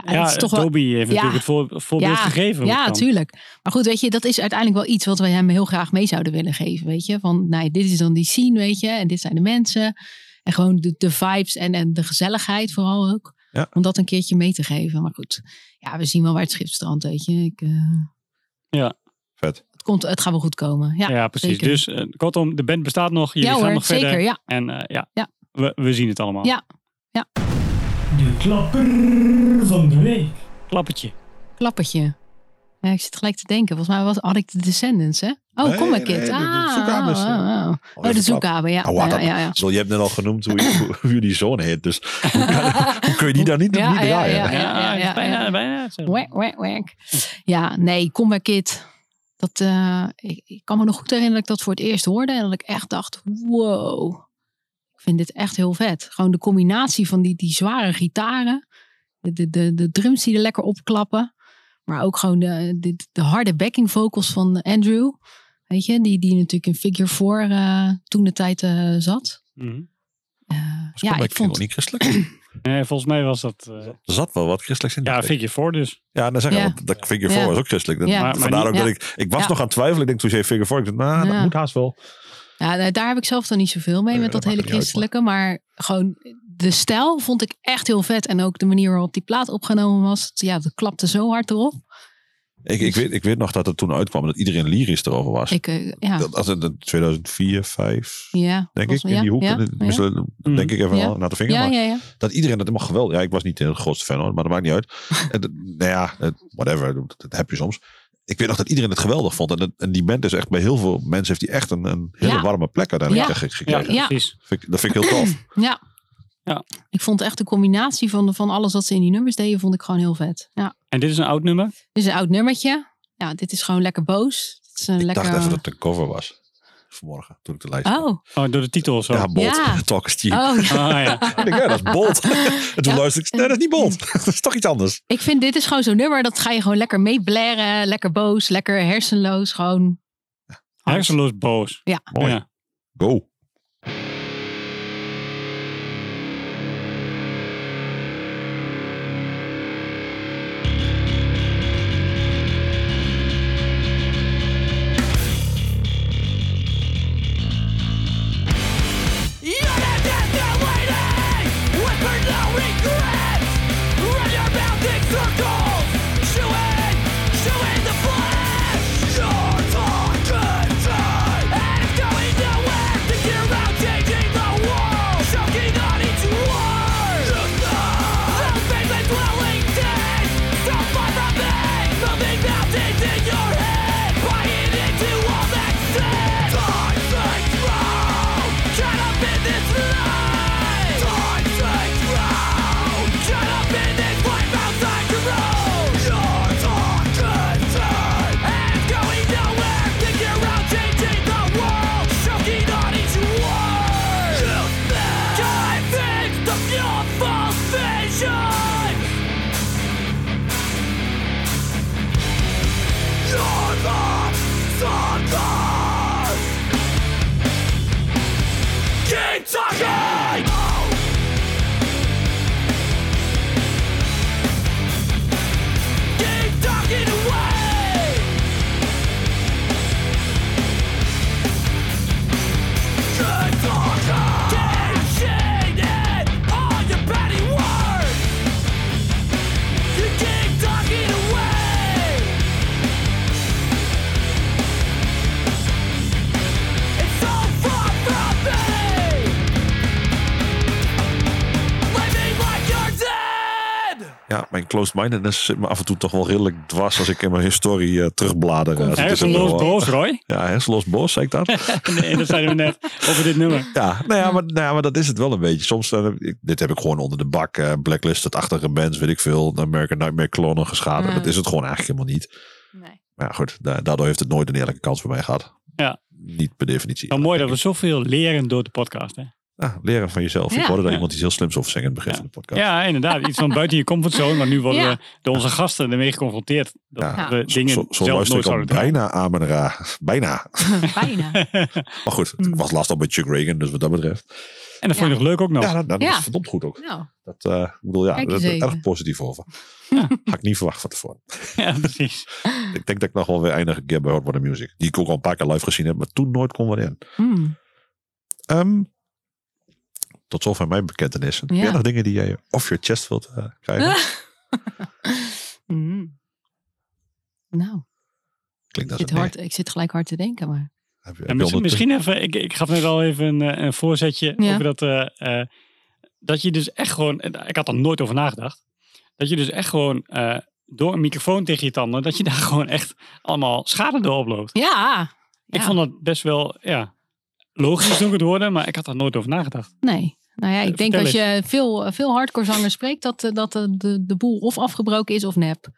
Ja,
ja,
dat is toch wel...
Toby heeft
Ja.
natuurlijk het voor, voorbeeld gegeven.
Ja,
Want dan-
tuurlijk. Maar goed, weet je, dat is uiteindelijk wel iets wat wij hem heel graag mee zouden willen geven, weet je. Van, nou, dit is dan die scene, weet je, en dit zijn de mensen. En gewoon de, de vibes en, en de gezelligheid vooral ook.
Ja.
Om dat een keertje mee te geven. Maar goed, ja, we zien wel waar het schip strandt, weet je. Ik, eh,
Vet.
het, komt, het gaat wel goed komen. Ja,
Ja, precies.
zeker.
Dus eh, kortom, de band bestaat nog. Jullie
ja
gaan
hoor,
nog
zeker,
verder.
ja.
En eh, ja,
Ja.
We, we zien het allemaal.
Ja.
De klapper van de week.
Klappertje.
Klappertje. Ja, ik zit gelijk te denken. Volgens mij was, had ik de Descendants, hè? Oh,
Nee,
kom maar,
nee,
kid.
de- de
ah,
Zoekabers,
oh,
eh.
oh, oh. oh, de zoekhaber, ja.
Oh, wat
ja,
dan?
ja, ja.
Zo, je hebt net al genoemd hoe, je- hoe, hoe je die zoon heet. Dus hoe, kan- hoe kun je die daar niet,
Ja,
niet
ja,
draaien?
ja,
Ja, het is
ja,
bijna,
ja.
bijna hetzelfde.
Werk, werk, werk. Ja, nee, kom maar, kid. Dat, eh, ik, ik kan me nog goed herinneren dat ik dat voor het eerst hoorde. En dat ik echt dacht, wow. Ik vind dit echt heel vet. Gewoon de combinatie van die, die zware gitaren. De, de, de, de drums die er lekker opklappen. Maar ook gewoon de, de, de harde backing vocals van Andrew. Weet je, die, die natuurlijk in Figure 4 eh, toen de tijd eh, zat.
Mhm.
Eh,
Dus
ja,
kom,
ik vond...
niet christelijk.
Nee, volgens mij was dat... eh,
Er zat wel wat christelijks in.
ja,
dat
figure four dus.
Ja, dan zeg ik,
Ja.
want dat Figure 4
Ja.
was ook christelijk. Dat-
Ja.
Maar- maar
Vandaar
niet-
ook dat ik... Ik was
Ja.
nog aan het twijfelen. Ik denk toen je zei Figure 4, ik dacht, nou, dat
Ja.
moet haast wel.
Ja, nou, daar heb ik zelf dan niet zoveel mee
Nee,
met
dat
dat,
maakt
hele
er niet uit,
christelijke. maar gewoon de stijl vond ik echt heel vet. En ook de manier waarop die plaat opgenomen was. het- Ja, dat klapte zo hard erop.
Ik, ik, weet, ik weet nog dat het toen uitkwam dat iedereen lyrisch erover was.
Ik, eh, ja,
Dat, als het in 2004, 5,
ja.
denk ik,
volgens mij,
in die hoek.
Ja,
En het-
ja,
misschien- Denk ik even
Ja.
al naar de vinger.
ja,
maar
ja, ja.
dat iedereen dat helemaal geweldig... Ja, ik was niet de grootste fan hoor, maar dat maakt niet uit. En dat- nou ja, het- whatever, dat, dat heb je soms. Ik weet nog dat iedereen het geweldig vond. En, dat- en die band is echt bij heel veel mensen heeft die echt een, een hele
Ja.
warme plek uiteindelijk
Ja.
ge-
Ja,
gekregen.
Ja.
precies.
Vind ik- dat vind ik heel tof.
Ja.
Ja.
Ik vond echt de combinatie van, van alles wat ze in die nummers deden, vond ik gewoon heel vet. Ja.
En dit is een oud nummer.
Dit is een oud nummertje. Ja, dit is gewoon lekker boos. Het is een
ik
lekker...
dacht even dat het een cover was. Vanmorgen, toen ik de lijst zag.
Oh,
Oh, door de titel of zo.
Ja, Bolt.
Ja.
Talk is cheap.
oh ja.
Ah, ja.
Ik denk, ja, dat is Bolt. en toen
Ja.
luister ik, nee, dat is niet Bolt. dat is toch iets anders.
Ik vind dit is gewoon zo'n nummer. Dat ga je gewoon lekker mee blaren. Lekker boos, lekker hersenloos. Gewoon.
Hersenloos boos.
Ja.
Mooi.
Ja.
Go.
It's going nowhere to you us. Keep talking. Keep talking away. Good talker. Keep shading all your petty words. You keep talking away. It's so far from me. Living like you're dead.
Ja, mijn closed-mindedness zit me af en toe toch wel redelijk dwars als ik in mijn historie eh, terugblader. Ja, het is
Hersenloos
wel-
boos, Roy.
Ja, hersenloos boos, zei ik dat?
Nee, dat zeiden we net over dit nummer.
Ja, nou ja, maar, nou ja, maar dat is het wel een beetje. Soms, eh, ik- dit heb ik gewoon onder de bak. eh Blacklisted-achtige bands, weet ik veel. American Nightmare klonen geschapen.
Mm.
Dat is het gewoon eigenlijk helemaal niet.
Nee.
Maar ja, goed, da- daardoor heeft het nooit een eerlijke kans voor mij gehad.
Ja.
Niet per definitie.
Nou, mooi dat we zoveel leren door de podcast. Hè?
Ah, leren van jezelf. Ik
Ja.
hoorde daar
Ja.
iemand iets heel slims over zeggen in het begin van de podcast.
Ja, inderdaad. Iets van buiten je comfortzone. Maar nu worden
Ja.
we door onze gasten ermee geconfronteerd. Dat
Ja.
we
Zo,
dingen
zo, zo
zelf
luister
nooit
ik al
zouden doen.
bijna aan mijn raar. Bijna.
Bijna.
Maar goed,
Hmm.
het was laatst al bij Chuck Reagan, dus wat dat betreft.
En dat vond je nog leuk ook nog.
Ja, dat, dat
Ja.
is verdomd goed ook.
Nou,
Dat, eh, ik bedoel, ja,
Kijk
daar
eens
ben ik
even.
erg positief over. Had ik niet verwacht van tevoren.
Ja, precies.
Ik denk dat ik nog wel weer eindig een keer bij Hot Water Music. Die ik ook al een paar keer live gezien heb, maar toen nooit kon wat in.
hmm.
Ehm, tot zover mijn bekentenissen. Heb jij
Ja. Ah.
nog dingen die jij off your chest wilt eh, krijgen?
Hmm. Nou,
Klinkt als
ik zit,
een nee.
hard, ik zit gelijk hard te denken, maar...
Heb je- heb
Ja,
je
misschien,
ondertussen- Oh,
misschien even, ik, ik gaf net al even een, eh, een voorzetje
Ja.
over dat, eh, eh, dat je dus echt gewoon, en ik had er nooit over nagedacht, dat je dus echt gewoon eh, door een microfoon tegen je tanden, dat je daar gewoon echt allemaal schade door oploopt.
Ja!
Ik
Ja.
vond dat best wel, ja, logisch nog het worden, maar ik had daar nooit over nagedacht.
Nee. Nou ja,
Eh,
ik denk
vertel
als je veel, veel hardcore zangers spreekt, dat, eh, dat eh, de, de boel of afgebroken is of nep.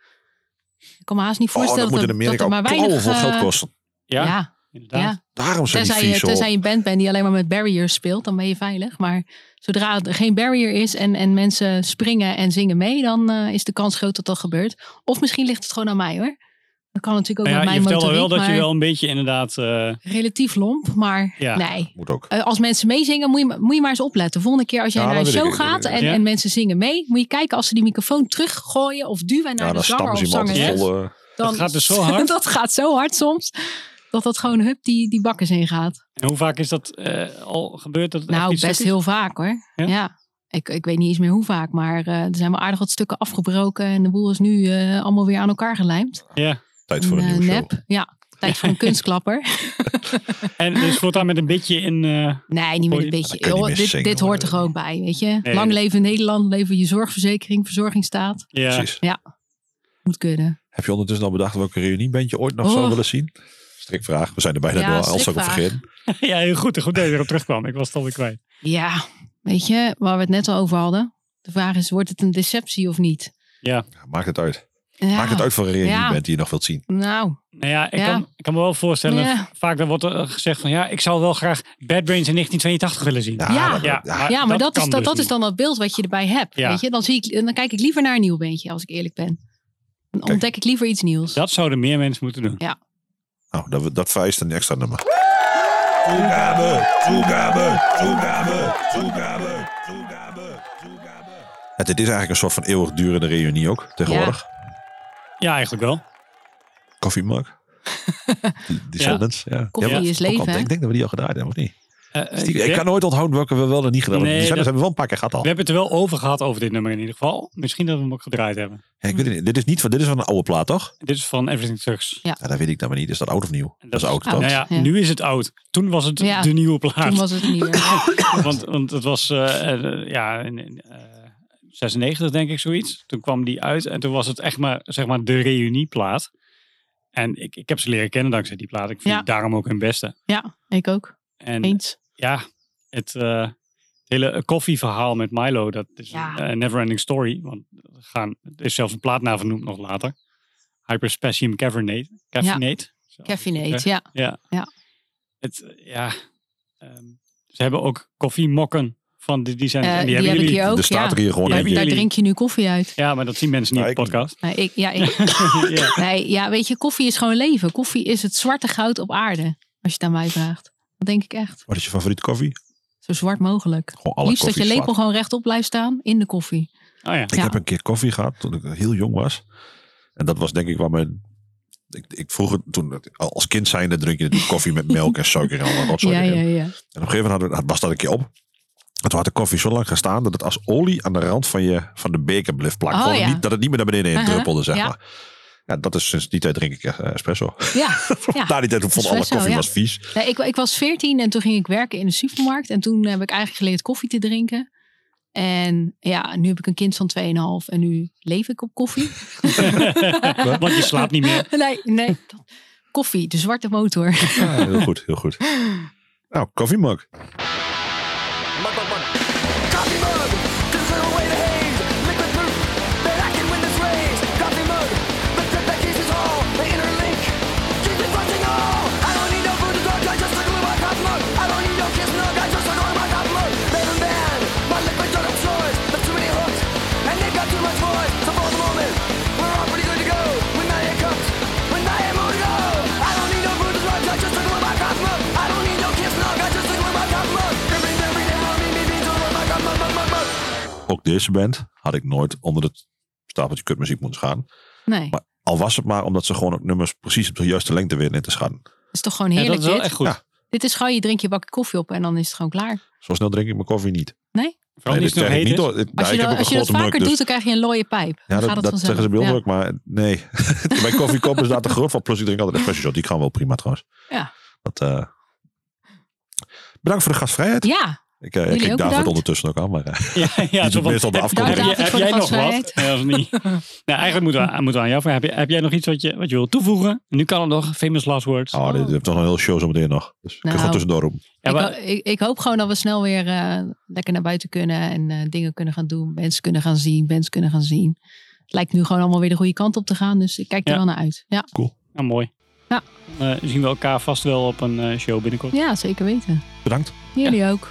Ik kan me haast niet
Oh, dat
voorstellen
moet
dat,
in
dat
Amerika
er
ook
maar weinig...
veel
eh,
geld kosten.
Ja,
ja, ja,
inderdaad. Nou
Daarom zijn die
Tenzij, je,
vies zo.
tenzij je een band bent die alleen maar met barriers speelt, dan ben je veilig. Maar zodra er geen barrier is en, en mensen springen en zingen mee, dan eh, is de kans groot dat dat gebeurt. Of misschien ligt het gewoon aan mij hoor. Dat kan natuurlijk ook
Nou
met
ja, je
mijn
vertelde
motoriek,
wel dat je
maar
wel een beetje inderdaad, eh,
relatief lomp. Maar
Ja.
nee,
Moet ook.
eh, als mensen meezingen, moet je, moet je maar eens opletten. Volgende keer als jij
Ja,
naar een
dat weet
show
ik, dat
gaat
weet
en,
Ja.
en mensen zingen mee, moet je kijken als ze die microfoon teruggooien of duwen naar
Ja,
de
dan
zanger
stampen
of
ze iemand
zangeres.
altijd vol. eh,
Dan,
Dat gaat dus zo hard?
dat gaat zo hard soms, dat dat gewoon hup die, die bakkers heen gaat.
en hoe vaak is dat eh, al gebeurd? Dat het echt
Nou,
iets
best
stuk is?
heel vaak hoor.
Ja?
Ja. Ik, ik weet niet eens meer hoe vaak, maar eh, er zijn wel aardig wat stukken afgebroken en de boel is nu eh, allemaal weer aan elkaar gelijmd.
Ja,
tijd voor een
eh,
nieuwe show.
nep. Ja, tijd voor een kunstklapper.
en dus voortaan met een beetje in... eh,
Nee, niet met
Hoor
een
je-
beetje.
Ja, dan kun je niet
Joh,
meer
dit,
zingen,
dit
hoor.
hoort er gewoon bij, weet je.
Nee.
Lang leven Nederland, leven je zorgverzekering, verzorgingsstaat.
ja.
Precies.
Moet kunnen.
Heb je ondertussen al bedacht welke reuniebandje ooit nog
Oh.
zou willen zien? Strikvraag. We zijn er bijna
Ja,
door. Als ik het
strikvraag.
vergeten.
Ja, heel goed. Goed dat je erop terugkwam. Ik was het alweer kwijt.
Ja, weet je, waar we het net al over hadden. De vraag is, wordt het een deceptie of niet?
Ja, Maakt het uit.
Ja,
Maakt het uit voor een reunieband
Ja.
die je nog wilt zien.
Nou,
Nou ja, ik,
Ja.
Kan, ik kan me wel voorstellen.
Ja.
v- Vaak dan wordt er eh, gezegd van ja, ik zou wel graag Bad Brains in 1982 willen zien.
Ja.
dat-
Ja.
ja, maar dat,
kan
is, dat,
dus
dat is
niet.
dan dat beeld wat je erbij hebt.
Ja.
Weet je? Dan, zie ik, dan kijk ik liever naar een nieuw bandje, als ik eerlijk ben. Dan ontdek ik liever iets nieuws.
Dat zouden meer mensen moeten doen.
Nou, dat, dat vereist een extra nummer.
Toegabe, toegabe, toegabe, toegabe, toegabe, toegabe.
Het, dit is eigenlijk een soort van eeuwigdurende reunie ook tegenwoordig.
Ja, eigenlijk wel.
Koffiemark. Die, die
Ja.
Sundance, ja.
Koffie
Ja,
is
ook al-
leven, hè?
Ik denk dat we die al gedaan hebben, of niet?
Eh, eh,
Die-
we,
ik kan nooit onthouden welke we wel en niet gedaan hebben.
Nee,
die Sundance
dat-
hebben we wel een paar keer gehad al.
we hebben het er wel over gehad over dit nummer in ieder geval. Misschien dat we hem ook gedraaid hebben.
Ja, ik weet het niet. Dit is niet van, dit is van een oude plaat, toch?
Dit is van Everything Sucks.
Ja, dat weet ik dan maar niet. Is dat oud of nieuw? Dat, is Ah, oud,
oud.
toch?
Nou ja,
Ja.
nu is het oud. Toen was het
Ja.
de nieuwe plaat.
Toen was het niet meer.
want, want het was eh, eh, ja, in, in, eh, 96 denk ik zoiets. Toen kwam die uit en toen was het echt maar, zeg maar de reunieplaat. En ik, ik heb ze leren kennen dankzij die plaat. Ik vind
Ja.
het daarom ook hun beste.
Ja, ik ook.
En
Eens.
ja, het eh, het hele koffieverhaal met Milo, dat is
Ja.
een eh, never-ending story. Want er, gaan, er is zelfs een plaat naar vernoemd nog later. Hyperspecium Cavernate. Caffinate. Zo.
Caffinate, ja.
Ja.
Ja.
Het, eh, ja ehm, ze hebben ook koffiemokken van die, die zijn.
Eh,
en
die heb ik
jullie-
hier ook.
er staat
ja.
er hier gewoon
Ja,
eentje.
Daar
jullie-
drink je nu koffie uit.
Ja, maar dat zien mensen niet
Nou,
in de
ik-
podcast.
Nee, ik, ja, ik,
ja.
Nee, ja, weet je, koffie is gewoon leven. Koffie is het zwarte goud op aarde. Als je het aan mij vraagt. Dat denk ik echt.
Wat is je favoriete koffie?
Zo zwart mogelijk.
Gewoon alle
Liefst dat je
koffies
lepel
zwart.
gewoon rechtop blijft staan in de koffie.
Oh ja.
Ik
Ja.
heb een keer koffie gehad toen ik heel jong was. En dat was denk ik waar mijn... Ik, ik vroeg het toen, als kind zijnde drink je natuurlijk koffie met melk en suiker en allemaal rotzooi
Ja, ja,
erin.
ja.
En op een gegeven moment hadden we- was dat een keer op. En toen had de koffie zo lang gestaan dat het als olie aan de rand van, je, van de beker bleef plakken.
Oh,
Gewoon
ja.
niet, dat het niet meer naar beneden in
Uh-huh,
druppelde, zeg
ja.
maar. Ja, dat is sinds die tijd drink ik eh, espresso.
ja.
Na die tijd vond alle
Espresso,
koffie
ja.
was vies.
Nee, ik, ik was veertien en toen ging ik werken in de supermarkt. En toen heb ik eigenlijk geleerd koffie te drinken. En ja, nu heb ik een kind van 2,5 en nu leef ik op koffie.
Want je slaapt niet meer.
Nee, nee. Koffie, de zwarte motor.
Ja, heel goed, heel goed. Nou, koffiemug.
Coffee mug, clear away the haze. Liquid proof that I can win this race. Coffee mug, the trip that cases all. They interlink, keep it fucking all. I don't need no food to talk, I just circle in my coffee mug. I don't need no kiss, no, I just circle in my coffee mug. They've been banned, my liquid don't have choice. There's too many hooks, and they've got too much voice. So for the moment, we're all pretty good to go. When my head comes, when my head moves, go. I don't need no food to talk, I just circle in my coffee mug. I don't need no kiss, no, I just circle in my coffee mug. Every, every day, mommy, me, me, don't my coffee mug, mug, mug, mug.
Ook deze band had ik nooit onder het stapeltje kutmuziek moeten gaan.
Nee,
Maar al was het maar omdat ze gewoon ook nummers precies op de juiste lengte weer in te schatten.
dat is toch gewoon
Ja, dat
heerlijk
is wel
dit?
echt goed.
Ja.
Dit is gewoon, je drinkt je bakje koffie op en dan is het gewoon klaar.
Zo snel drink ik mijn koffie niet.
Vooral
Nee,
niet
dit
nog
zeg ik
heet
niet
is.
hoor. Dit-
Als
nou,
je,
ik
dat,
heb ook
als
een
je dat
grote mug,
vaker
dus-
doet, dan krijg je een looie pijp.
Ja,
Dan
dat,
gaat het
dat
vanzelf.
zeggen ze bij ons
Ja.
ook, maar nee. Mijn koffiekop is daar te groot van. Plus ik drink altijd espresso shot. Die gaan wel prima trouwens.
Ja.
Dat, eh, Bedankt voor de gastvrijheid.
Ja,
Ik, eh, ik
Jullie
kijk
ook
David
bedankt.
ondertussen ook aan. Maar, eh,
Ja, ja, zo
Die doet
van,
meestal de
heb-
afkondiging.
Heb,
Dank
je-
voor
heb
de
jij nog wat?
gastvrijheid.
Nee, dat is niet. nou, eigenlijk moeten we, moeten we aan jou vragen. Heb, je- heb jij nog iets wat je, wat je wil toevoegen? Nu kan het nog. Famous last words.
oh, dit heeft toch een heel show zo meteen nog. Dus ik kan
Nou.
gewoon tussendoor om.
Ja,
ik,
maar-
ho- ik, ik hoop gewoon dat we snel weer eh, lekker naar buiten kunnen. En eh, dingen kunnen gaan doen. Mensen kunnen gaan zien. Mensen kunnen gaan zien. Het lijkt nu gewoon allemaal weer de goede kant op te gaan. Dus ik kijk er
Ja.
wel naar uit. Ja,
nou, mooi.
Ja.
Dan, eh, zien we elkaar vast wel op een eh, show binnenkort.
ja zeker weten.
Bedankt.
Jullie ook.